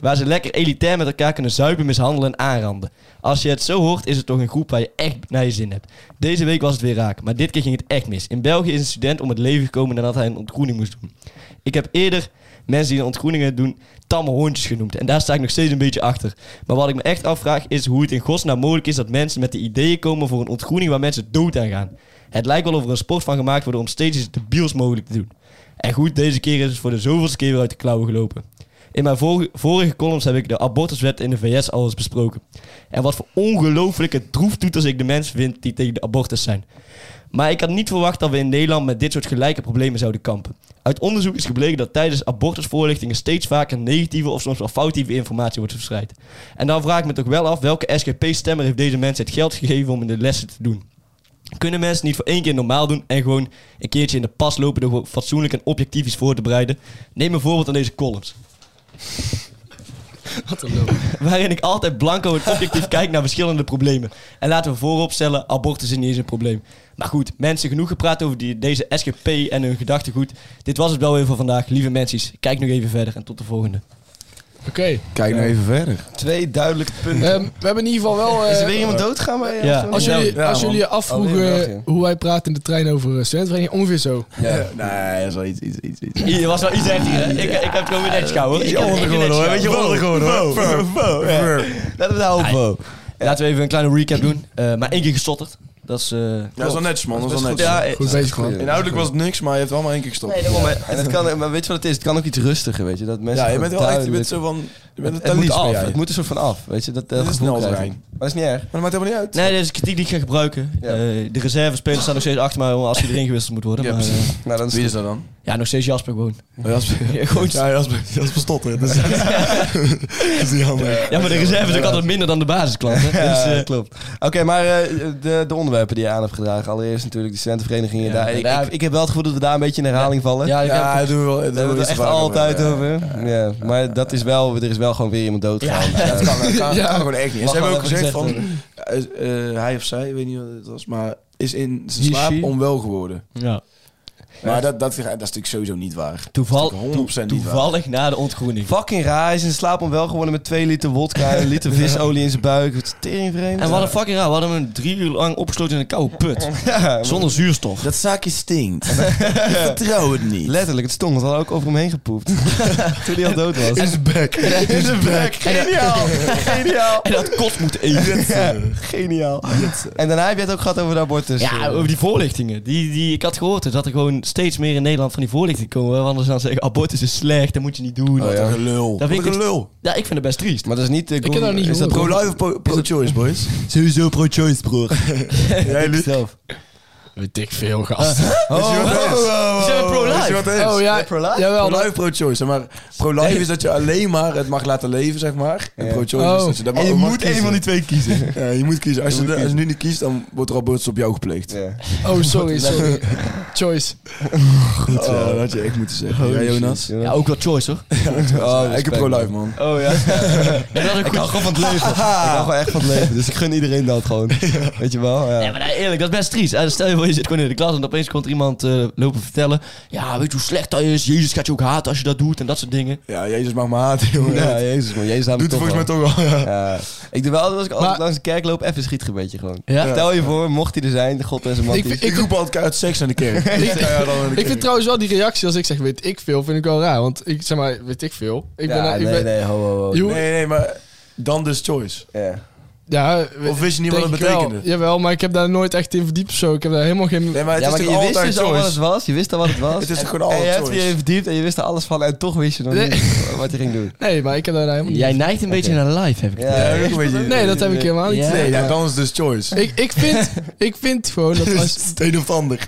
Waar ze lekker elitair met elkaar kunnen zuipen, mishandelen en aanranden. Als je het zo hoort, is het toch een groep waar je echt naar je zin hebt. Deze week was het weer raak, maar dit keer ging het echt mis. In België is een student om het leven gekomen nadat hij een ontgroening moest doen. Ik heb eerder mensen die ontgroeningen doen tamme hondjes genoemd. En daar sta ik nog steeds een beetje achter. Maar wat ik me echt afvraag is hoe het in godsnaam mogelijk is dat mensen met de ideeën komen voor een ontgroening waar mensen dood aan gaan. Het lijkt wel of er een sport van gemaakt wordt om steeds iets debiels mogelijk te doen. En goed, deze keer is het voor de zoveelste keer weer uit de klauwen gelopen. In mijn vorige, vorige columns heb ik de abortuswet in de VS al eens besproken. En wat voor ongelooflijke droeftoeters ik de mensen vind die tegen de abortus zijn. Maar ik had niet verwacht dat we in Nederland met dit soort gelijke problemen zouden kampen. Uit onderzoek is gebleken dat tijdens abortusvoorlichtingen steeds vaker negatieve of soms wel foutieve informatie wordt verspreid. En dan vraag ik me toch wel af welke SGP-stemmer heeft deze mensen het geld gegeven om in de lessen te doen. Kunnen mensen niet voor één keer normaal doen en gewoon een keertje in de pas lopen door gewoon fatsoenlijk en objectief iets voor te bereiden? Neem een voorbeeld aan deze columns.
Wat een lul.
waarin ik altijd blanco en objectief kijk naar verschillende problemen. En laten we voorop stellen, abortus is niet eens een probleem. Maar goed, mensen, genoeg gepraat over die, deze SGP en hun gedachtegoed. Dit was het wel weer voor vandaag. Lieve mensen, kijk nog even verder en tot de volgende.
Oké.
Kijk nou even verder.
Twee duidelijke punten.
Ehm, we hebben in ieder geval wel... eh,
is er weer iemand doodgaan bij je?
Ja.
Of zo?
Als jullie,
Ja,
als
man.
jullie je afvroegen
Alweer een dagje.
hoe wij praten in de trein over eh, studentenvereniging, ongeveer zo.
Ja. (laughs) Nee, dat is wel iets, iets, iets. iets.
Hier was wel iets echt hier, hè? Ik, ik heb het gewoon weer netjes gehouden. hoor. Ik heb het echt weer netjes gehouden.
hoor. Laten we daar op, Bo.
Laten we even een kleine recap doen. Eh, maar één keer gestotterd. Dat is... eh,
Ja, dat is wel netjes, man. Dat is wel netjes.
ja, eh,
Goed bezig, man.
Inhoudelijk was het niks, maar je hebt allemaal één keer gestopt.
En het kan, maar weet je wat het is? Het kan ook iets rustiger, weet je. Dat mensen
ja, je bent wel echt, je
duidelijk-
bent zo van, je bent een
het, het moet
talies
af.
ben jij.
Het moet er soort van af, weet je. Dat, dat
Dit is
gevoel
snel
krijgen.
terrein.
Maar dat is niet erg.
Maar dat maakt helemaal niet uit.
Nee, dit is kritiek die ik ga gebruiken.
Ja.
Eh, de reservespelers staan nog steeds achter mij als die erin gewisseld moet worden.
Ja,
maar, eh,
precies.
Nou, dan is
Wie
het
is dat (laughs) dan?
ja, nog steeds Jasper gewoon.
Jasper.
Ja, Gewoon
Ja, Jasper, (laughs) Jasper Stotter. Dat is,
(laughs)
dat is niet handig.
Ja, maar de reserve is ook altijd minder dan de basisklant.
(laughs)
Hè?
Ja,
Dus, eh,
klopt. Oké, maar eh, de, de onderwerpen die je aan hebt gedragen. Allereerst natuurlijk de studentenverenigingen.
Ja,
daar, ik,
daar-
ik, ik heb wel het gevoel dat we daar een beetje in herhaling vallen.
ja, ik heb-
Ja, dat doen we wel.
Daar hebben we het echt altijd over. Ja, maar dat is wel, er is wel gewoon weer iemand doodgaan. Ja,
Dat kan, (laughs) dat kan, kan eh, gewoon echt niet.
Mag
Ze hebben
wel
ook gezegd
even
van, eh, eh, hij of zij, ik weet niet wat het was, maar is in zijn
He, she?
slaap onwel geworden.
ja.
Maar dat, dat, dat is natuurlijk sowieso niet waar.
Toeval,
Dat is natuurlijk 100% niet waar.
toevallig na de ontgroening.
Fucking raar. Hij is in slaap onwel geworden met 2 liter wodka en een liter visolie in zijn buik. Wat teringvreemd.
En wat een fucking raar. We hadden hem drie uur lang opgesloten in een
(laughs)
koude put.
Ja,
Zonder zuurstof.
Dat zaakje (laughs) stinkt. Ik vertrouw het niet.
letterlijk. Het stonk. Want we hadden ook over hem heen gepoept. Toen hij al dood was.
zijn bek. In zijn bek.
Geniaal. Geniaal.
En dat kost moeten eten.
Ja, geniaal. En daarna heb je het ook gehad over de abortus.
Ja, over die voorlichtingen. Die, die, ik had gehoord dat er gewoon steeds meer in Nederland van die voorlichtingen komen. Waar anders dan zeggen, abortus is slecht, dat moet je niet doen.
Wat
ja.
een gelul. Oh,
Dat
Wat
vind
een
ik-
gelul.
Ja, ik vind het best triest.
Maar dat is niet... eh,
heb
Google-
dat niet
is dat
gehoord.
Pro-life of pro- pro-choice,
(laughs)
boys?
Sowieso pro-choice, broer.
Jij, Luc?
Zelf.
Weet ik veel, gast.
Oh,
Weet je wat het is?
Ze zijn pro-life.
Weet je Oh, wat het is?
oh ja, jawel.
Pro-life, pro-choice. Maar pro-life is dat je alleen maar het mag laten leven, zeg maar. En
Ja.
pro-choice
Oh.
is dat je dat
En je
mag
moet
kiezen.
een van die twee
(laughs)
kiezen.
Ja, je moet kiezen. Als je,
moet
de- als je
kiezen.
nu niet kiest, dan wordt er abortus op jou gepleegd.
Ja.
Oh, sorry, sorry. Choice.
Goed zo. dat Oh, had je echt moeten zeggen. Ja, Jonas?
Ja, ook wel choice hoor.
Oh,
ik heb pro-life, man.
Oh (laughs) ja. dat is ook goed.
gewoon van het leven. ik hou gewoon echt van het
(laughs)
leven. Dus ik gun iedereen dat gewoon. Weet je wel? Ja.
Ja, maar nou, eerlijk, dat is best triest. Eh, Stel je voor, je zit gewoon in de klas en opeens komt er iemand eh, lopen vertellen. Ja, weet je hoe slecht dat is? Jezus gaat je ook haten als je dat doet en dat soort dingen.
Ja, Jezus mag me haten, jongen.
Ja, jezus man. Jezus houdt me
Doet het
toch
volgens
wel.
mij toch wel.
(laughs)
ja.
Ja. Ik doe wel, als ik altijd
Maar-
langs de kerk loop, even een schietgebedje gewoon.
Ja.
Stel je voor, mocht hij er zijn, God en zijn man.
Ik, vind-
Ik
ik,
roep altijd uit seks aan de
(laughs)
kerk.
Ik-
Ja, ja, dan aan de
ik
kerk.
vind trouwens wel die reactie als ik zeg weet ik veel, vind ik wel raar. Want ik zeg maar, weet ik veel. Ik ben,
Ja,
ik
nee,
ben,
nee, ho, ho, ho.
Je hoeft-
Nee, nee, maar dan dus choice.
Ja.
Ja,
Of wist je niet wat
denk
het
ik wel.
betekende?
Jawel, maar ik heb daar nooit echt in verdiept of zo. Ik heb daar helemaal geen...
Nee, maar het
Ja, maar
is toch
je wist
altijd
dus al wat het
choice?
was. Je wist al wat
(laughs)
het was.
Het is
En-
toch gewoon altijd
En je hebt
choice?
je verdiept en je wist er alles van. En toch wist je nog
Nee.
niet wat je ging
(laughs)
doen.
Nee, maar ik heb daar helemaal niet...
Jij neigt een beetje naar live, heb ik.
Ja,
Ja, ook een beetje.
Nee, dat heb ik helemaal niet.
Ja.
Nee, ja, dan is dus
(laughs)
choice.
Ik, ik, vind, ik vind gewoon dat
Het
als...
is het een of ander.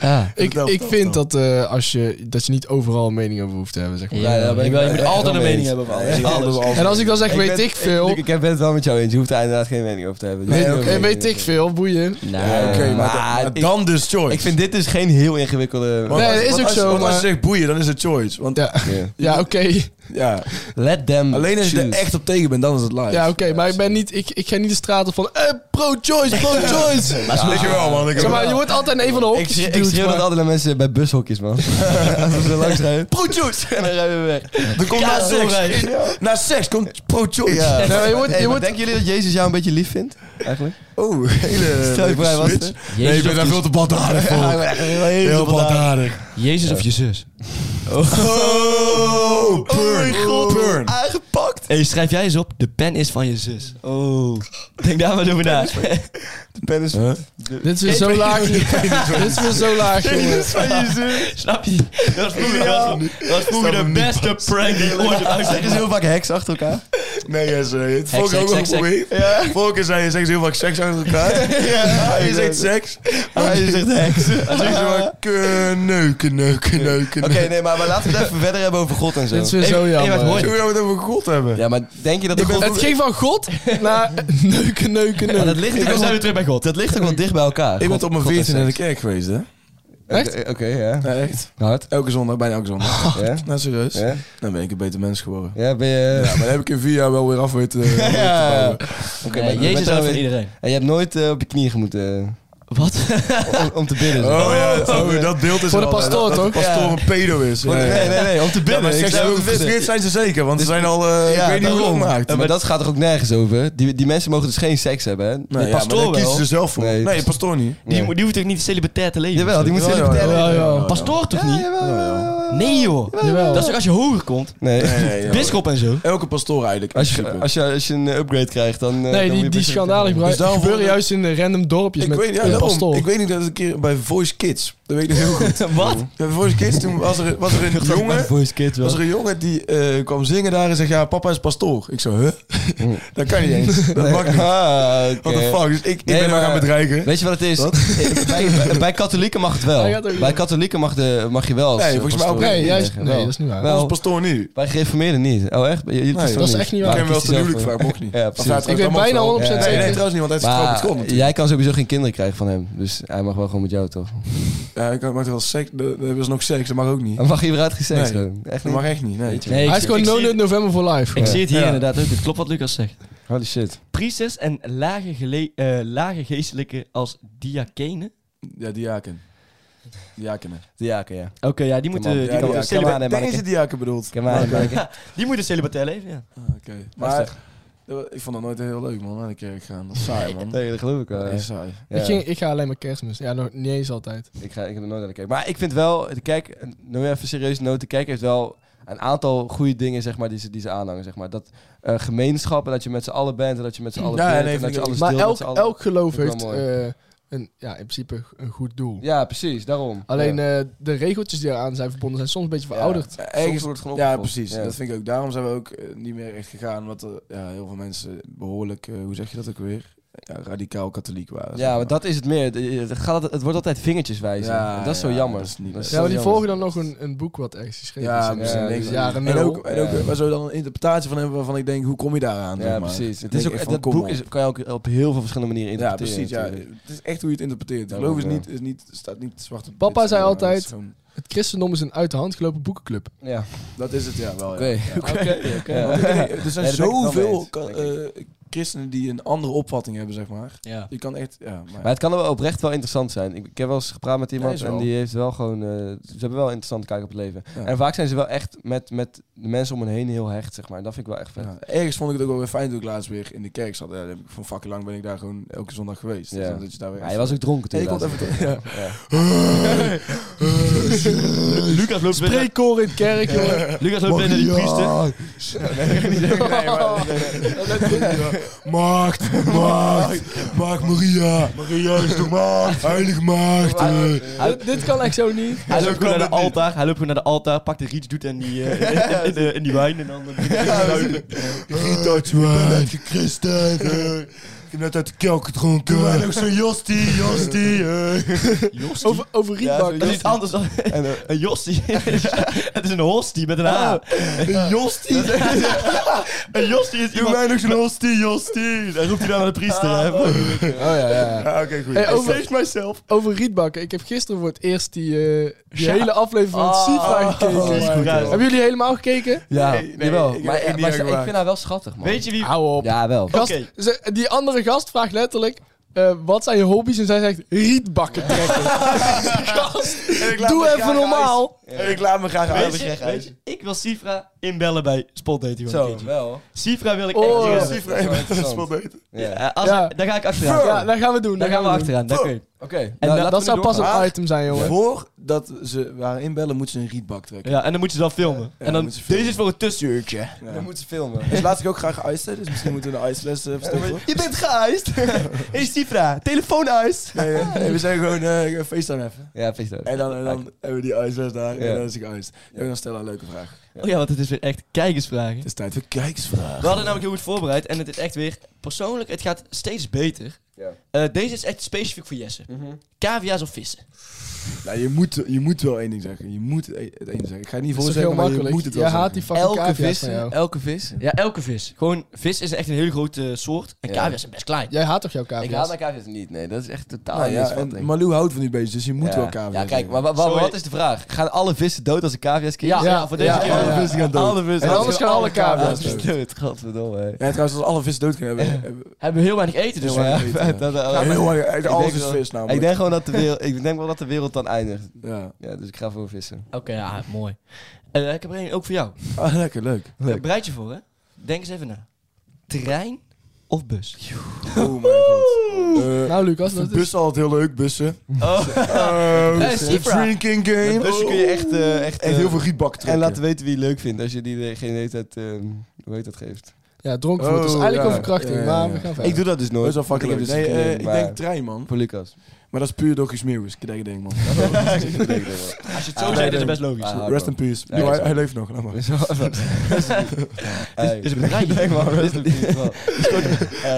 Ja.
Ik,
Vertel,
ik
vertel,
vind
vertel.
dat, eh, als je, dat je niet overal een mening over hoeft te hebben, zeg maar.
Ja, daar ben ik wel. Je moet
echt
altijd een
wel mee
mening
eens.
hebben van
Ja,
alles.
ja,
Alles.
ja.
En als ik dan zeg, weet
ben-
ik veel...
Ik, ik ben het wel met jou eens. Je hoeft daar inderdaad geen mening over te hebben.
Nee,
Ja,
oké,
oké.
weet ik veel, boeien.
Nou,
Ja,
Oké, maar,
maar
maar
ik-
dan dus choice.
Ik vind dit dus geen heel ingewikkelde...
Want
Nee,
als-
dat is
want
ook
als-
zo,
Want als je
maar-
zegt boeien, dan is het choice. Want
Ja,
Ja.
ja oké.
Ja.
Let them
Alleen als je er
choose.
echt op tegen bent, dan is het live.
Ja, oké, maar ik, ben niet, ik, ik ga niet de straat op van eh, pro-choice, pro-choice.
Ik wel, man. Ik
Zeg maar, je wordt altijd in een van de
Ik,
hokjes
schreeuw- ik
geduwd,
schreeuw
maar-
dat altijd naar mensen bij bushokjes,
(laughs)
man. Als we er langs rijden.
pro-choice. (laughs)
En dan rijden we weg.
Dan komt na seks. Na seks komt pro-choice.
Ja.
Nee, maar je wordt,
Hey,
je
maar
wordt,
Denken jullie dat Jezus jou een beetje lief vindt?
(laughs)
Eigenlijk?
Oh, hele
Stel je voor, hij was
switch.
er.
Nee, ik ben daar veel te baldadig voor. Heel baldadig.
Jezus of je zus?
Oh, burn. Burn.
Aangepakt!
Hé, schrijf jij eens op. De pen is van je zus. Oh. Denk daar maar over na.
De pen is
Huh?
dit is weer zo laag. Dit is weer zo laag, jongen.
(laughs) Snap je? Dat was vroeger, dat was, dat was vroeger de beste prank die ooit
Er is
uitgezet.
heel vaak heks achter elkaar.
Nee, ja, sorry. Het
Heks,
vorige ook
heks,
wel
heks,
geprobeerd. Vorige keer zei je seks heel vaak seks achter elkaar. (laughs) Ja, je zegt seks.
Maar je
(laughs)
zegt heks.
Dan zeg je zo maar ke- neuken, neuken, neuken.
Oké, nee, maar, maar laten we het even verder hebben over God en zo.
Dit is weer zo
Hey, hey, wat
jammer.
mooi.
Hoe gaan we nou het over God hebben?
Ja, maar denk je dat de God...
Het ging van God naar (laughs) neuken, neuken,
Maar dat
neuken.
ligt
En
ook
dan zijn
wel,
we terug bij God.
dat ligt ook wel dicht bij elkaar.
Ik ben
God-
op mijn
God en
14 in de
seks.
kerk geweest, hè?
Echt?
Oké, oké, ja.
Ja, echt.
Hard.
Elke zondag, bijna elke (laughs) zondag.
Ja?
Nou, serieus.
Ja?
Dan ben ik een beter mens geworden.
Ja, ben je...
Ja, maar dan heb ik in vier jaar wel weer af (laughs) weten. eh,
Ja.
te bouwen.
Oké,
Nee,
maar-
Jezus
maar dan
houdt van
weer-
iedereen.
En je hebt nooit eh, op je knieën moeten...
Wat?
om, om te bidden. zeg.
Oh ja, oh, dat beeld is
Voor de
er al, hè,
pastoor,
dat,
toch?
Dat de pastoor een pedo is. Ja, ja.
Nee, nee, nee, om te
Ja,
bidden.
maar
Ik
seks
zei om te bidden.
gefrustreerd zijn ze zeker, want ze zijn al, eh, ik weet niet hoe
daarom.
lang gemaakt.
Ja, maar dat gaat er ook nergens over? Die, die mensen mogen dus geen seks hebben, hè?
Nee, ja, maar
pastoor
daar kiezen
wel.
ze zelf voor.
Nee.
Nee, pastoor niet.
Die, moet- die hoeft toch niet celibatair te leven?
Jawel, die moet
Ja,
ze
ja,
vertellen.
ja, ja,
Een Pastoor toch niet? Nee joh. Dat is toch als je hoger komt?
Nee.
Nee, nee, ja.
Bisschop en zo.
Elke pastoor eigenlijk.
(laughs) Als je, als, je, als je een upgrade krijgt, dan... eh, dan
Nee,
moet
die,
je
die
beschermd worden.
schandalen gebruik-
Dus daarom-
gebeuren juist in eh, random dorpjes
dus
ik,
met
weet, ja,
een
daarom.
pastoor.
ik weet niet dat een keer bij Voice Kids, dat weet ik nog heel (laughs) goed.
Wat?
Bij Voice Kids toen was er, was
(laughs)
er een jongen,
Voice Kids wel.
was er een jongen die eh, kwam zingen daar en zei, ja, papa is pastoor. Ik zo, huh? dat kan niet
(laughs)
eens. Dat mag niet.
Ah, oké.
What the fuck? Dus ik, ik
Nee,
ben hem
maar-
gaan bedreigen.
Weet je wat het is? Eh, Bij, bij- bij katholieken mag het
Hij
wel.
gaat ook
Bij
niet.
katholieken mag, de, mag je wel. als,
Nee,
eh,
volgens mij ook
pastoor
Nee,
niet.
juist,
zeggen.
nee,
Wel.
dat is niet waar.
Wel.
Als pastoor nu.
Bij gereformeerden niet. Oh, echt? Bij Jullie
Nee,
pastoren
dat is
niet? eh.
echt niet waar.
Ik
Waar
heb wel
kiest
te
hij zelf
huwelijk
voor?
gevraagd, mocht niet.
Ja,
Of
precies.
hij trouwt
Ik weet
allemaal
bijna
voor.
100%
Nee, nee,
zeker.
trouwens niet, want hij is getrouwd met
Maar
God natuurlijk.
jij kan sowieso geen kinderen krijgen van hem. Dus hij mag wel gewoon met jou, toch?
Ja, ik maak er wel seks. Dat dat is nog seks, dat mag ook niet.
Dan mag je weer uitgesext
Nee.
gewoon. Echt
Dat
niet?
mag echt niet, nee.
Nee,
Hij is gewoon
ik zie
No Nut
het-
November for Life.
Ik zie het hier
Ja.
inderdaad ook. Het klopt wat Lucas zegt.
Holy shit.
Priesters en lage, gele- eh, lage geestelijke als diakenen.
Ja, diaken. Diakenen.
Diaken, ja.
Oké, ja, die moeten,
man.
die
Ja,
moeten
ja,
celibatair-
come on, dus hè,
Ik denk dat
manneke.
je diaken bedoelt.
Kom maar,
Oké.
Mike.
die moeten celibatair leven, ja.
Ah, Oké.
Lastig.
Maar eh, ik vond dat nooit heel leuk, man, naar de kerk gaan. Dat is
(laughs)
saai, man.
Nee, dat geloof ik wel.
Dat
ja. (laughs)
is saai.
Ja.
Ik, ging, ik ga alleen maar kerstmis. Ja, nog niet eens altijd.
Ik, ga, ik heb er nooit naar gekeken. Maar ik vind wel, de kijk, nu even serieus noten, de kijk heeft wel een aantal goede dingen zeg maar, die, ze, die ze aanhangen. Zeg maar. Dat eh, gemeenschap en dat je met z'n allen bent en dat je met z'n allen
Ja,
bent
nee,
en dat
vind
je
ik ook.
alles
Maar
deelt. met
elk,
z'n allen.
elk geloof
Vind ik
heeft
wel mooi.
eh, een, ja, in principe een goed doel.
Ja, precies, daarom.
Alleen
ja.
eh, de regeltjes die eraan zijn verbonden zijn soms een beetje verouderd.
Ja,
Soms
eh, ergens-
wordt het gewoon
ja,
opgevolgd.
precies.
Ja.
Dat vind ik ook. Daarom zijn we ook eh, niet meer echt gegaan. Omdat er ja, heel veel mensen behoorlijk, eh, hoe zeg je dat ook weer? Ja, radicaal katholiek waren. zeg
Ja, maar dat is het meer. Het, het gaat, altijd- het wordt altijd vingertjes wijzen.
Ja,
En dat is zo
ja,
jammer.
dat is niet best.
Ja, maar die
jammer.
volgen dan nog een, een boek wat ergens geschreven
Ja,
is.
precies.
Ja,
Ja,
dus
ja.
jaren
En
nul.
ook, en ook
Ja.
waar zo dan een interpretatie van hebben waarvan ik denk, hoe kom je daaraan?
Ja,
zeg maar.
precies.
Dan
Het is
denk
ook,
ik echt
dat
van,
boek
kom
is,
op.
kan je ook op heel veel verschillende manieren
Ja,
interpreteren.
precies. Ja.
natuurlijk.
Het is echt hoe je het interpreteert.
Ja,
Geloof is
ja.
niet, is niet, staat niet zwart op wit,
Papa
zeg
zei
maar. Dat is
altijd-
gewoon-
Het christendom is een uit de hand gelopen boekenclub.
Ja.
Dat is het, ja, wel. ja.
Oké.
Ja.
Oké, oké.
Want ik denk, Er
(laughs) Nee, daar ben
zijn
ik het wel mee
zoveel
eens,
ka-
denk
eh, christenen die een andere opvatting hebben, zeg maar.
Ja.
Je kan echt, ja, maar...
Maar het kan wel oprecht wel interessant zijn. Ik, ik heb wel eens gepraat met
Ja,
iemand
is wel.
en die heeft wel gewoon... eh, ze hebben wel een interessante kijk op het leven.
Ja.
En vaak zijn ze wel echt met, met de mensen om hen heen heel hecht, zeg maar. En dat vind ik wel echt vet.
Ja, ergens vond ik het ook wel weer fijn toen ik laatst weer in de kerk zat. Ja, dat heb ik van fucking lang ben ik daar gewoon elke zondag geweest. Dus
Ja.
dan zit je daar weer
Ja, hij
(laughs)
was ook dronken toen.
Hey, ik
laatst.
kom even terug.
Ja.
Lucas loopt weer naar-
Prekoor in de kerk, jongen.
Lucas loopt weer naar die priester.
Maagd, maagd, maagd Maria. Maria is de maagd. Heilige maagd.
Dit- Dit kan echt zo niet.
Hij loopt gewoon naar de
kan het niet.
altaar. Hij loopt gewoon naar de altaar, pakt de riets, doet en die, eh, in, in (laughs) de- in die wijn. En dan begint hij te zuipen.
Giet dat wijn. Christen. heb net uit de kelk gedronken. Toen wij nog zo'n Jostie, (laughs) Jostie. eh.
Over, over rietbak.
Dat is iets anders dan (laughs)
En, eh,
een Jostie. (laughs) het is een hostie met een
Ah.
A.
Een Jostie.
Een Jostie is
Toen
iemand...
wij nog zo'n Jostie, Jostie.
Dan roept hij dan naar de priester. hè.
(laughs) oh ja, ja. ja.
Ah, Oké, goed.
Hey, over-
mijzelf.
Over rietbakken. Ik heb gisteren voor het eerst die, eh, die hele aflevering van het Sifa gekeken.
oh, is goed,
Ah. Ja.
joh.
Hebben jullie helemaal gekeken?
Ja,
Nee, nee,
jawel.
ik-
maar eh,
ik-
maar,
niet
maar
gemaakt.
ik vind haar wel schattig, man.
Weet je wie... Ah,
Hou op.
Ja, wel.
Gast,
Oké.
ze- die andere gast vraagt letterlijk... eh, wat zijn je hobby's? En zij zegt rietbakken trekken. Gast,
En ik laat me
doe even
graag
normaal.
uit. En ik laat me graag
Weet
uit.
je, weet je, ik wil Sifra inbellen bij Spotdating.
Zo, wel.
Sifra wil ik
Oh,
echt...
Precies,
dat is wel
maar (laughs) dat is wel
interessant.
beter.
Ja.
Ja, als-
Ja.
Daar ga ik achteraan.
Ja, dat gaan we doen. Dat
Daar gaan we
doen.
achteraan. Daar kun je.
Oké. nou,
En
laten we
dat
nu
zou pas
doorgaan.
een item zijn, jongen.
Voordat ze waren inbellen, moeten ze een rietbak trekken.
Ja, en dan moet je dan filmen. en dan,
moet je filmen.
deze is voor een tussenuurtje.
Ja.
We moeten filmen.
Dus laat ik ook graag ijsten, dus misschien moeten we een ijsles eh, verstoppen.
Je bent geëist. (laughs) hey Sifra, telefoon uit.
Nee, eh, nee, we zijn gewoon eh FaceTime even.
Ja, vind je dat?
En dan, en dan hebben we die ijsles daar
Ja.
en dan is ik ijs. En dan stel een leuke vraag.
Oh ja, want het is weer echt kijkersvragen.
Het is tijd voor kijksvragen.
We hadden namelijk heel goed voorbereid en het is echt weer... Persoonlijk, het gaat steeds beter.
Ja.
Eh, deze is echt specifiek voor Jesse. Cavia's of vissen?
Nou, je moet, je moet wel één ding zeggen. Je moet e- het één ding zeggen. Ik ga het niet
Dat
voor
is toch heel
zeggen, maar je
makkelijk.
moet het wel
Jij
zeggen.
haat die fucking
Elke
cavia's
vis,
van jou.
elke vis.
Ja, elke vis. Gewoon, vis is echt een hele grote eh, soort. En
Ja.
cavia's zijn best klein.
Jij haat toch jouw cavia's?
Ik haat mijn cavia's niet, nee. Dat is echt totaal
Nou ja,
misvatting.
en Malou houdt van die beestjes, dus je moet
ja.
wel kamer
Ja, kijk, maar wa- wa-
Sorry.
wat is de vraag? Gaan alle vissen dood als ze cavia's kiezen?
Ja, ja, voor deze keer.
alle vissen gaan dood.
Alle vissen.
En anders gaan alle
Ja,
cavia's
dat is dood, godverdomme. hè.
Ja, trouwens, als alle vissen dood kunnen hebben... hebben we
Hebben heel weinig eten dus.
heel
Ja, (laughs)
weinig eten.
dat- dat-
Ja,
ik
heel erg-
denk
alles is
wel-
vis namelijk.
Ik denk gewoon dat de wereld, ik denk wel dat de wereld dan eindigt.
Ja.
Ja, dus ik ga voor vissen.
Oké, ja, mooi. Eh, ik heb er één ook voor jou.
Ah, lekker, leuk.
Eh, Bereid je voor, hè? Denk eens even na. Terrein of bus?
Oh mijn god. Eh,
Nou, Lucas,
Ik vind
dat is...
bussen altijd heel leuk, bussen.
Oh.
(laughs)
Eh,
Eh,
de
Sifra.
drinking game. Oh.
Met bussen kun je echt, eh, echt,
Echt
eh,
heel veel rietbak trekken.
En laten weten wie je leuk vindt als je die geen hele tijd, ehm, hoe heet dat, geeft.
Ja, dronkenvoet. Dat is
Oh,
eigenlijk
ja.
een
Ja,
verkrachting,
ja,
maar
ja.
we gaan verder.
Ik doe dat dus nooit.
Dat is wel fucking
Ik
leuk.
heb dus
Nee,
geen
eh,
idee,
ik
maar-
denk trein, man.
Voor
(laughs)
Lucas. Ah,
Maar dat is puur door gesmeeuwis. Kijk,
(laughs)
denk man.
Ik denk dat wel.
Als je het zo zegt, is het best logisch.
Ah,
dus Rest in peace.
Ja,
Nee,
ja,
hij,
ja.
hij leeft nog, laat maar.
Is wel- Hey.
is
(laughs)
een bedrijf.
Denk maar, rest in peace, man.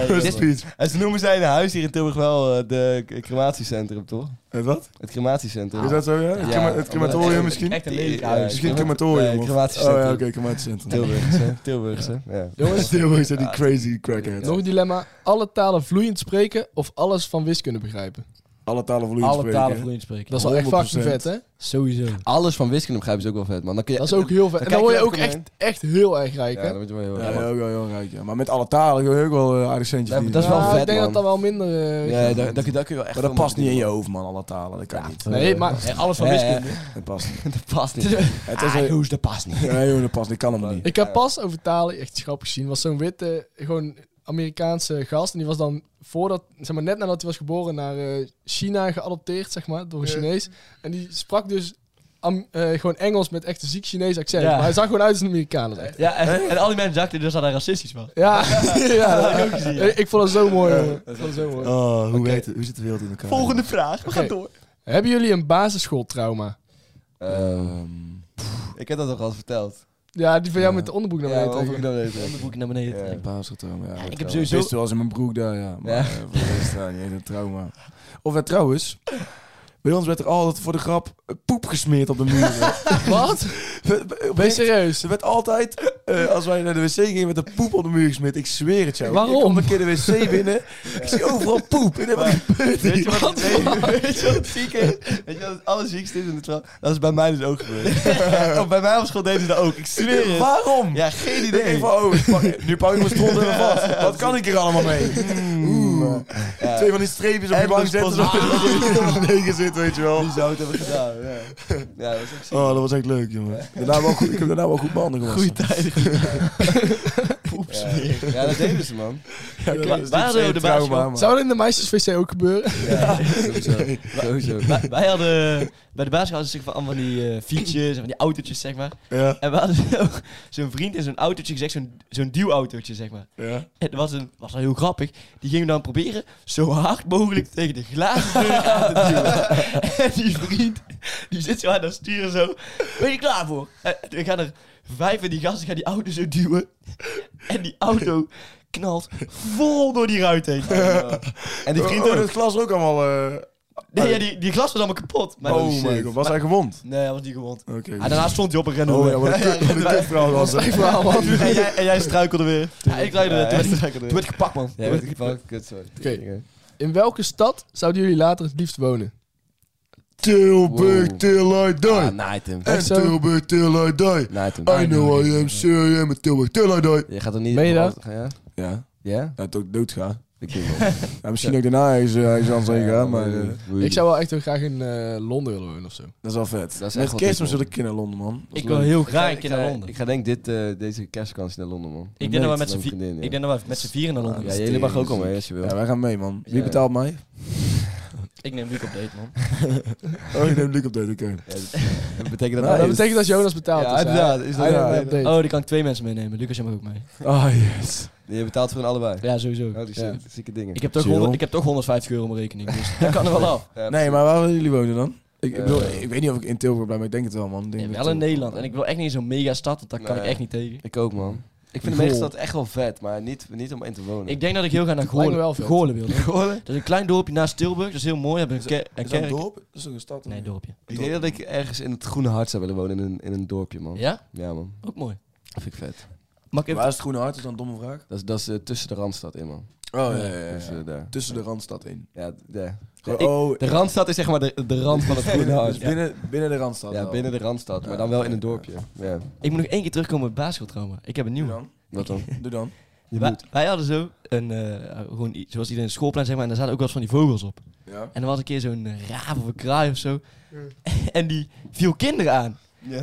Rest in peace.
En ze noemen zijn huis hier in Tilburg wel eh, de k- crematiecentrum, toch?
Eh, wat?
Het crematiecentrum.
Is dat zo, ja? Het, crema- het crematorium misschien?
Echt een lelijk
Ja,
huis.
misschien crematorium.
Nee,
of-
crematiecentrum.
Oh ja, oké, (laughs) crematiecentrum.
Tilburgse. Tilburgse. Ja.
Jongens, Tilburg zijn die crazy
Ja.
crackheads.
Nog een dilemma. Alle talen vloeiend spreken of alles van wiskunde begrijpen?
Alle talen vloeiend
Alle
spreken.
talen vloeiend spreken.
Dat is wel echt fucking
100%.
vet, hè?
Sowieso.
Alles van wiskunde begrijpen is ook wel vet, man. Dan kun je,
Dat is ook heel vet. En dan
kijk
word
je
je ook
even
echt, echt heel erg rijk,
Ja,
hè?
dan word je wel heel
Ja,
erg.
ja, ook wel heel rijk, ja. Maar met alle talen kun je ook wel eh, aardig centje
Ja, maar
verdienen.
dat is wel
Ja,
vet,
Ik denk
man.
dat dat wel minder... eh,
Ja, ja, daar, daar, daar kun je wel echt
Maar dat
veel
past niet in
mee
je
doen,
hoofd, man. Alle talen, dat kan niet.
gaat. Nee, maar...
alles van
Ja,
wiskunde.
Dat past niet.
man. Dat past
(laughs)
niet.
Het is een-
dat past niet.
Ja, joh, Ah, dat past niet. Ik kan hem niet.
Ik heb pas over talen echt grappig gezien. Was zo'n witte, gewoon Amerikaanse gast. En die was dan voordat, zeg maar, net nadat hij was geboren naar eh, China geadopteerd, zeg maar, door een Chinees. En die sprak dus Am- eh, gewoon Engels met echt een ziek Chinees accent.
Ja.
Maar hij zag gewoon uit als een Amerikaan. dat is echt-
Ja, en, en al die mensen dachten dus dat hij racistisch was.
Ja, (laughs) ja, dat heb ik ook
gezien.
Ik, ik vond dat zo mooi. jongen. Ik vond dat zo mooi.
Oh, hoe, heet het- hoe zit de wereld in elkaar? (laughs)
vraag. We
Oké. Hebben jullie een basisschooltrauma?
Ehm,
Ik heb dat toch al verteld.
Ja, die van jou met de onderbroek naar
Ja,
beneden.
over ik
trekken.
dat weet
Om de boek naar beneden.
Ja.
trekken.
Basisgetrauma, ja.
Ja,
dat
ik heb
wel.
sowieso-
Pist wel eens in mijn broek daar, ja. Maar
Ja.
eh, voor de rest, ja, niet echt een trauma. Of eh, trouwens, bij ons werd er altijd voor de grap eh, poep gesmeerd op de (laughs) muur.
Wat?
We- we-
Ben je
weet-
serieus?
Ze werd altijd, eh, als wij naar de wc gingen, met de poep op de muur gesmeerd. Ik zweer het jou.
Waarom?
Ik kom een keer de wc binnen. Ik zie overal poep. Ik denk, wat gebeurt hier?
Weet je wat,
(laughs)
weet, weet je wat het ziek is? Weet je wat het allerziekste is in de trouw? Dat is bij mij dus ook gebeurd.
(laughs)
(laughs) Oh, bij mij op school deden ze dat ook. Ik zweer het.
Waarom?
Ja, geen
Ik denk
idee.
van, (laughs) oh, ik pak- nu pak ik mijn stront even vast. Wat kan ik hier allemaal mee? Hmm. Oeh.
Ja.
Twee van die streepjes op je
En
bank
dus
zetten.
pas-
zodat (laughs) je er beneden zit, weet je wel.
Wie zou het hebben gedaan? Ja, ja dat is ook ziek.
Oh, dat was echt leuk, jongen. Daarna wel goed, ik heb daarna wel goed mijn handen gewassen.
Goeie tijden.
Ja. ja, dat deden ze, man.
Ja,
Wa-
dat is
waar
niet
hadden we
zo'n
de
trauma,
basisschool?
man.
Zou dat in de meisjeswc ook gebeuren?
Ja, sowieso. Sowieso.
Wij- Wij hadden bij de basisschool hadden ze zeg maar allemaal van die eh, fietsjes en van die autootjes, zeg maar.
Ja,
En we hadden zo- zo'n vriend in zo'n autootje gezegd, zo'n zo'n duwautootje, zeg maar.
ja.
En dat was, een, was wel heel grappig. Die gingen dan proberen zo hard mogelijk tegen de glazen deur aan te
(laughs)
duwen. en die vriend, die zit zo aan dat sturen zo. Ben je klaar voor? En we gaan er vijf van die gasten gaan die auto zo duwen. En die auto knalt vol door die ruit heen.
(laughs)
En die vriend
Oh, dat glas ook allemaal... eh,
Nee, ja, die, die glas was allemaal kapot. Maar eh,
oh my god, was hij gewond?
Nee, hij was niet gewond.
Oké.
Ah, daarna stond hij op een rennen.
Oh ja,
(laughs)
wat een kut- wat een
Oh,
kutverhaal
(laughs)
was dat.
en, jij, en jij struikelde weer. Ja, ik struikelde weer. Toen werd- Toen werd ik gepakt, man.
Ja, weet ik wel. Kut, sorry.
Oké. In welke stad zouden jullie later het liefst wonen?
Tilburg till I
Ah,
die.
night him.
En
Echt zo?
Tilburg till I die.
Night him.
I know I am sure I am a Tilburg till I die.
Je gaat er niet...
Meen je dat?
Ja?
Ja,
Ja?
dat ook doodgaan.
Ik denk
(laughs)
wel.
Ja, misschien ook daarna is eh, is aan zijn gegaan, maar eh,
eh,
Ik zou wel echt heel graag in eh, Londen willen wonen of zo.
dat is wel vet.
Dat is echt
Met
wel
kerstmis
dik,
wil ik in naar Londen, man.
Ik wil heel graag een
Ik
keer
ga-
naar Londen.
Ik ga denk dit, eh, deze kerstvakantie naar Londen, man.
Ik denk dat we met z'n
Mijn
vi-
vriendin, ja.
ik denk dat we met z'n vieren
Ah,
naar Londen
Ja,
gaan.
jullie mag ook al mee als je (laughs) wil.
Ja, wij gaan mee, man. Wie
Ja.
betaalt mij?
Ik neem Luc op date,
(laughs)
man.
Oh, je neemt Luc op date, oké.
(laughs)
Dat betekent dat
Nou,
hij-
dat betekent dat Jonas betaalt.
Ja,
dus, eh,
inderdaad, is dat-
hij-
ja,
hij
ja.
deed.
Oh, dan kan ik twee mensen meenemen. Lucas, jij mag ook mee.
Ah, yes.
Je betaalt voor hun allebei.
Ja, sowieso.
Oh, die zieke, zieke dingen.
Ik heb, toch
Chill.
100 ik heb toch 150 euro op mijn rekening, dus dat kan er
(laughs)
wel af.
Ja,
Nee, maar waar willen jullie wonen dan? Ik, ik,
Eh,
bedoel, ik weet niet of ik in Tilburg blijf, maar ik denk het wel, man. Ik denk
Nee,
dat
wel in
ik-
Nederland. En ik wil echt niet in zo'n megastad, want daar kan ik
Nee.
echt niet tegen.
Ik ook, man. Ik vind
Goh.
de meestad echt wel vet, maar niet, niet om in te wonen.
Ik denk dat ik heel
(laughs)
graag naar
Lijkt me wel
Goorlen,
vet.
Goorlen wil.
Goorlen?
(laughs) Dat is een klein dorpje naast Tilburg, dat is heel mooi. Hebben een, ke- een
Is dat een
kerk.
dorp? Dat is toch een stad?
Nee, dorpje.
Ik denk dat ik ergens in het groene hart zou willen wonen, in een, in een dorpje, man.
Ja?
Ja, man.
Ook mooi.
Dat vind ik vet.
Mag ik even-
Waar is het Groene Hart? Is dat een domme vraag?
Dat is, dat is eh, tussen de Randstad in, man.
Oh, ja, ja, ja.
Dus, eh, daar.
Tussen de Randstad in.
Ja, d- ja.
Gewoon,
Ik-
oh,
De Randstad is zeg maar de, de rand van het groene hart.
dus binnen, binnen de Randstad
Ja,
wel.
binnen de Randstad, maar dan wel in een dorpje. Ja.
ik moet nog één keer terugkomen op basisschooltrauma. Ik heb een
Doe
nieuwe.
dan.
Wat dan?
Doe dan.
Wij, wij hadden zo een, eh, gewoon, i- zoals iedereen een schoolplein zeg maar, en daar zaten ook wel eens van die vogels op.
Ja.
En er was een keer zo'n eh, raaf of een kraai of zo. (laughs) En die viel kinderen aan.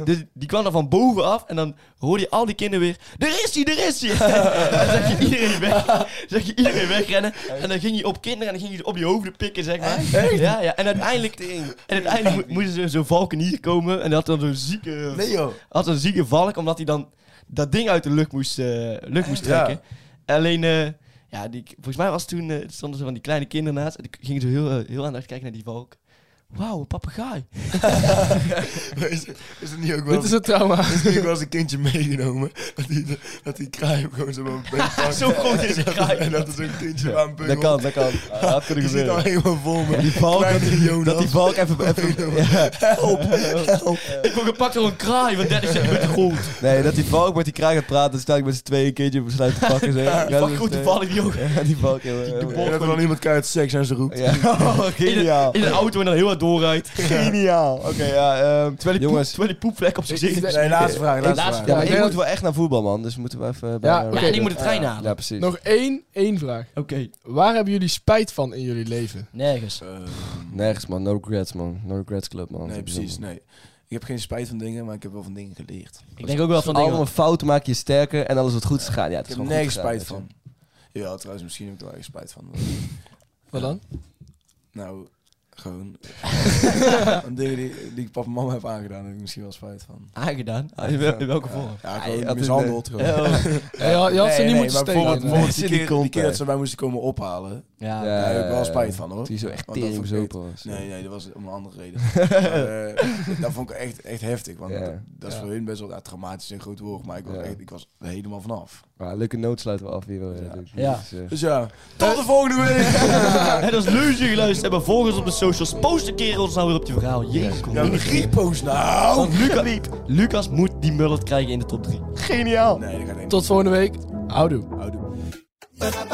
Dus die kwam er van boven af en dan hoorde je al die kinderen weer... Er is hij, er is hij! en (laughs) dan zag je iedereen weg. (laughs) zag je iedereen wegrennen. En dan ging je op kinderen en dan ging je ze op je hoofden pikken, zeg maar. Ja, ja. En uiteindelijk, en uiteindelijk mo- moesten ze zo'n valkenier komen. En dat had dan zo'n zieke...
Nee, joh.
had een zieke valk, omdat hij dan dat ding uit de lucht moest, eh, lucht moest trekken. Alleen, eh, ja, die, volgens mij was toen, eh, stonden ze van die kleine kinderen naast. En die gingen ze heel, eh, heel aandachtig kijken naar die valk. Wauw, een papegaai.
(laughs) Is, is het niet ook wel...
Oh. Dit is
(laughs)
het trauma.
Is Dus ik was een kindje meegenomen. Dat die, dat die kraai hem gewoon zo aan mijn been pakt.
(laughs) Zo groot is een kraai.
En (laughs) dat is een kindje aan mijn
Dat kan, dat kan. Ja, dat kunnen
Je zit al
gebeuren.
helemaal vol met
Die valk, dat
kleine
die,
Jonas.
dat die valk even... even ja.
(laughs) Ik word gepakt door een kraai van 30 centimeter
(laughs)
groot.
Nee, dat die valk met die kraag gaat praten, dan sta ik met z'n tweeën een keertje op sluit te pakken. Zeg. Ja, dus, eh,
Fuck goed, die valk die ook.
(laughs) Ja, die valk. heel- heel-
En dat er dan iemand keihard seks aan zijn roept.
Ja, (laughs)
In een,
geniaal.
in een auto en dan heel hard doorrijdt.
Geniaal. Oké, ja. ehm,
Terwijl die, poep,
Jongens.
terwijl die poepvlek op zijn gezicht is.
Nee, laatste vraag, laatste
laatste
vraag.
Ja, maar
ik
ik
denk
moet wel echt naar voetbal, man. Dus moeten we even... bij,
Ja,
eh,
Ja, en ik moet de trein halen.
ja, precies.
Nog één, één vraag.
Oké,
Waar hebben jullie spijt van in jullie leven?
nergens.
Nergens, man. No regrets, man. No regrets club, man.
Ehm, Nee, precies, nee. Ik heb geen spijt van dingen, maar ik heb wel van dingen geleerd.
Ik denk ook wel van dingen.
Allemaal fouten maken je sterker en alles wat goed is gegaan. Ja, het
Ik
is
heb
gewoon goed
nergens
gegaan,
spijt
weet je.
van. Ja, trouwens, misschien heb ik er wel echt spijt van.
Wat dan?
Nou,
(laughs)
gewoon... Van dingen die, die ik papa en mama heb aangedaan, daar heb ik misschien wel spijt van.
Aangedaan? In wel- in welke vorm?
Ja,
Ja, je
gewoon
had eh,
mishandeld. Gewoon.
(laughs)
Ja, je had je had ze niet moeten
maar bijvoorbeeld-
stelen. Nee.
bijvoorbeeld die
Zit die
keer- die
kont,
keer
hè?
dat ze mij moesten komen ophalen,
Ja,
Ja.
daar heb ik wel spijt van hoor.
Die zo echt
Want dat
tering
vergeet-
zopen was.
Nee, nee, dat was om een andere reden. Maar, eh, dat vond ik echt, echt heftig, want
Ja.
dat, dat is voor hun best wel ja, traumatisch en groot woord, maar ik was,
Ja.
echt, ik was er helemaal vanaf.
Maar Ah, leuke noot sluiten we af hier wel. Ja.
Ja.
Dus ja, tot de volgende week!
En als leuze geluisterd hebben, volg ons op de socials. Post een keer ons nou weer op je verhaal. Jezus, kom
Ja,
niet.
een griepoos nou!
Want Luca- Lucas moet die mullet krijgen in de top 3.
Geniaal.
Nee, dat gaat niet.
Tot volgende week. Houdoe.
Houdoe.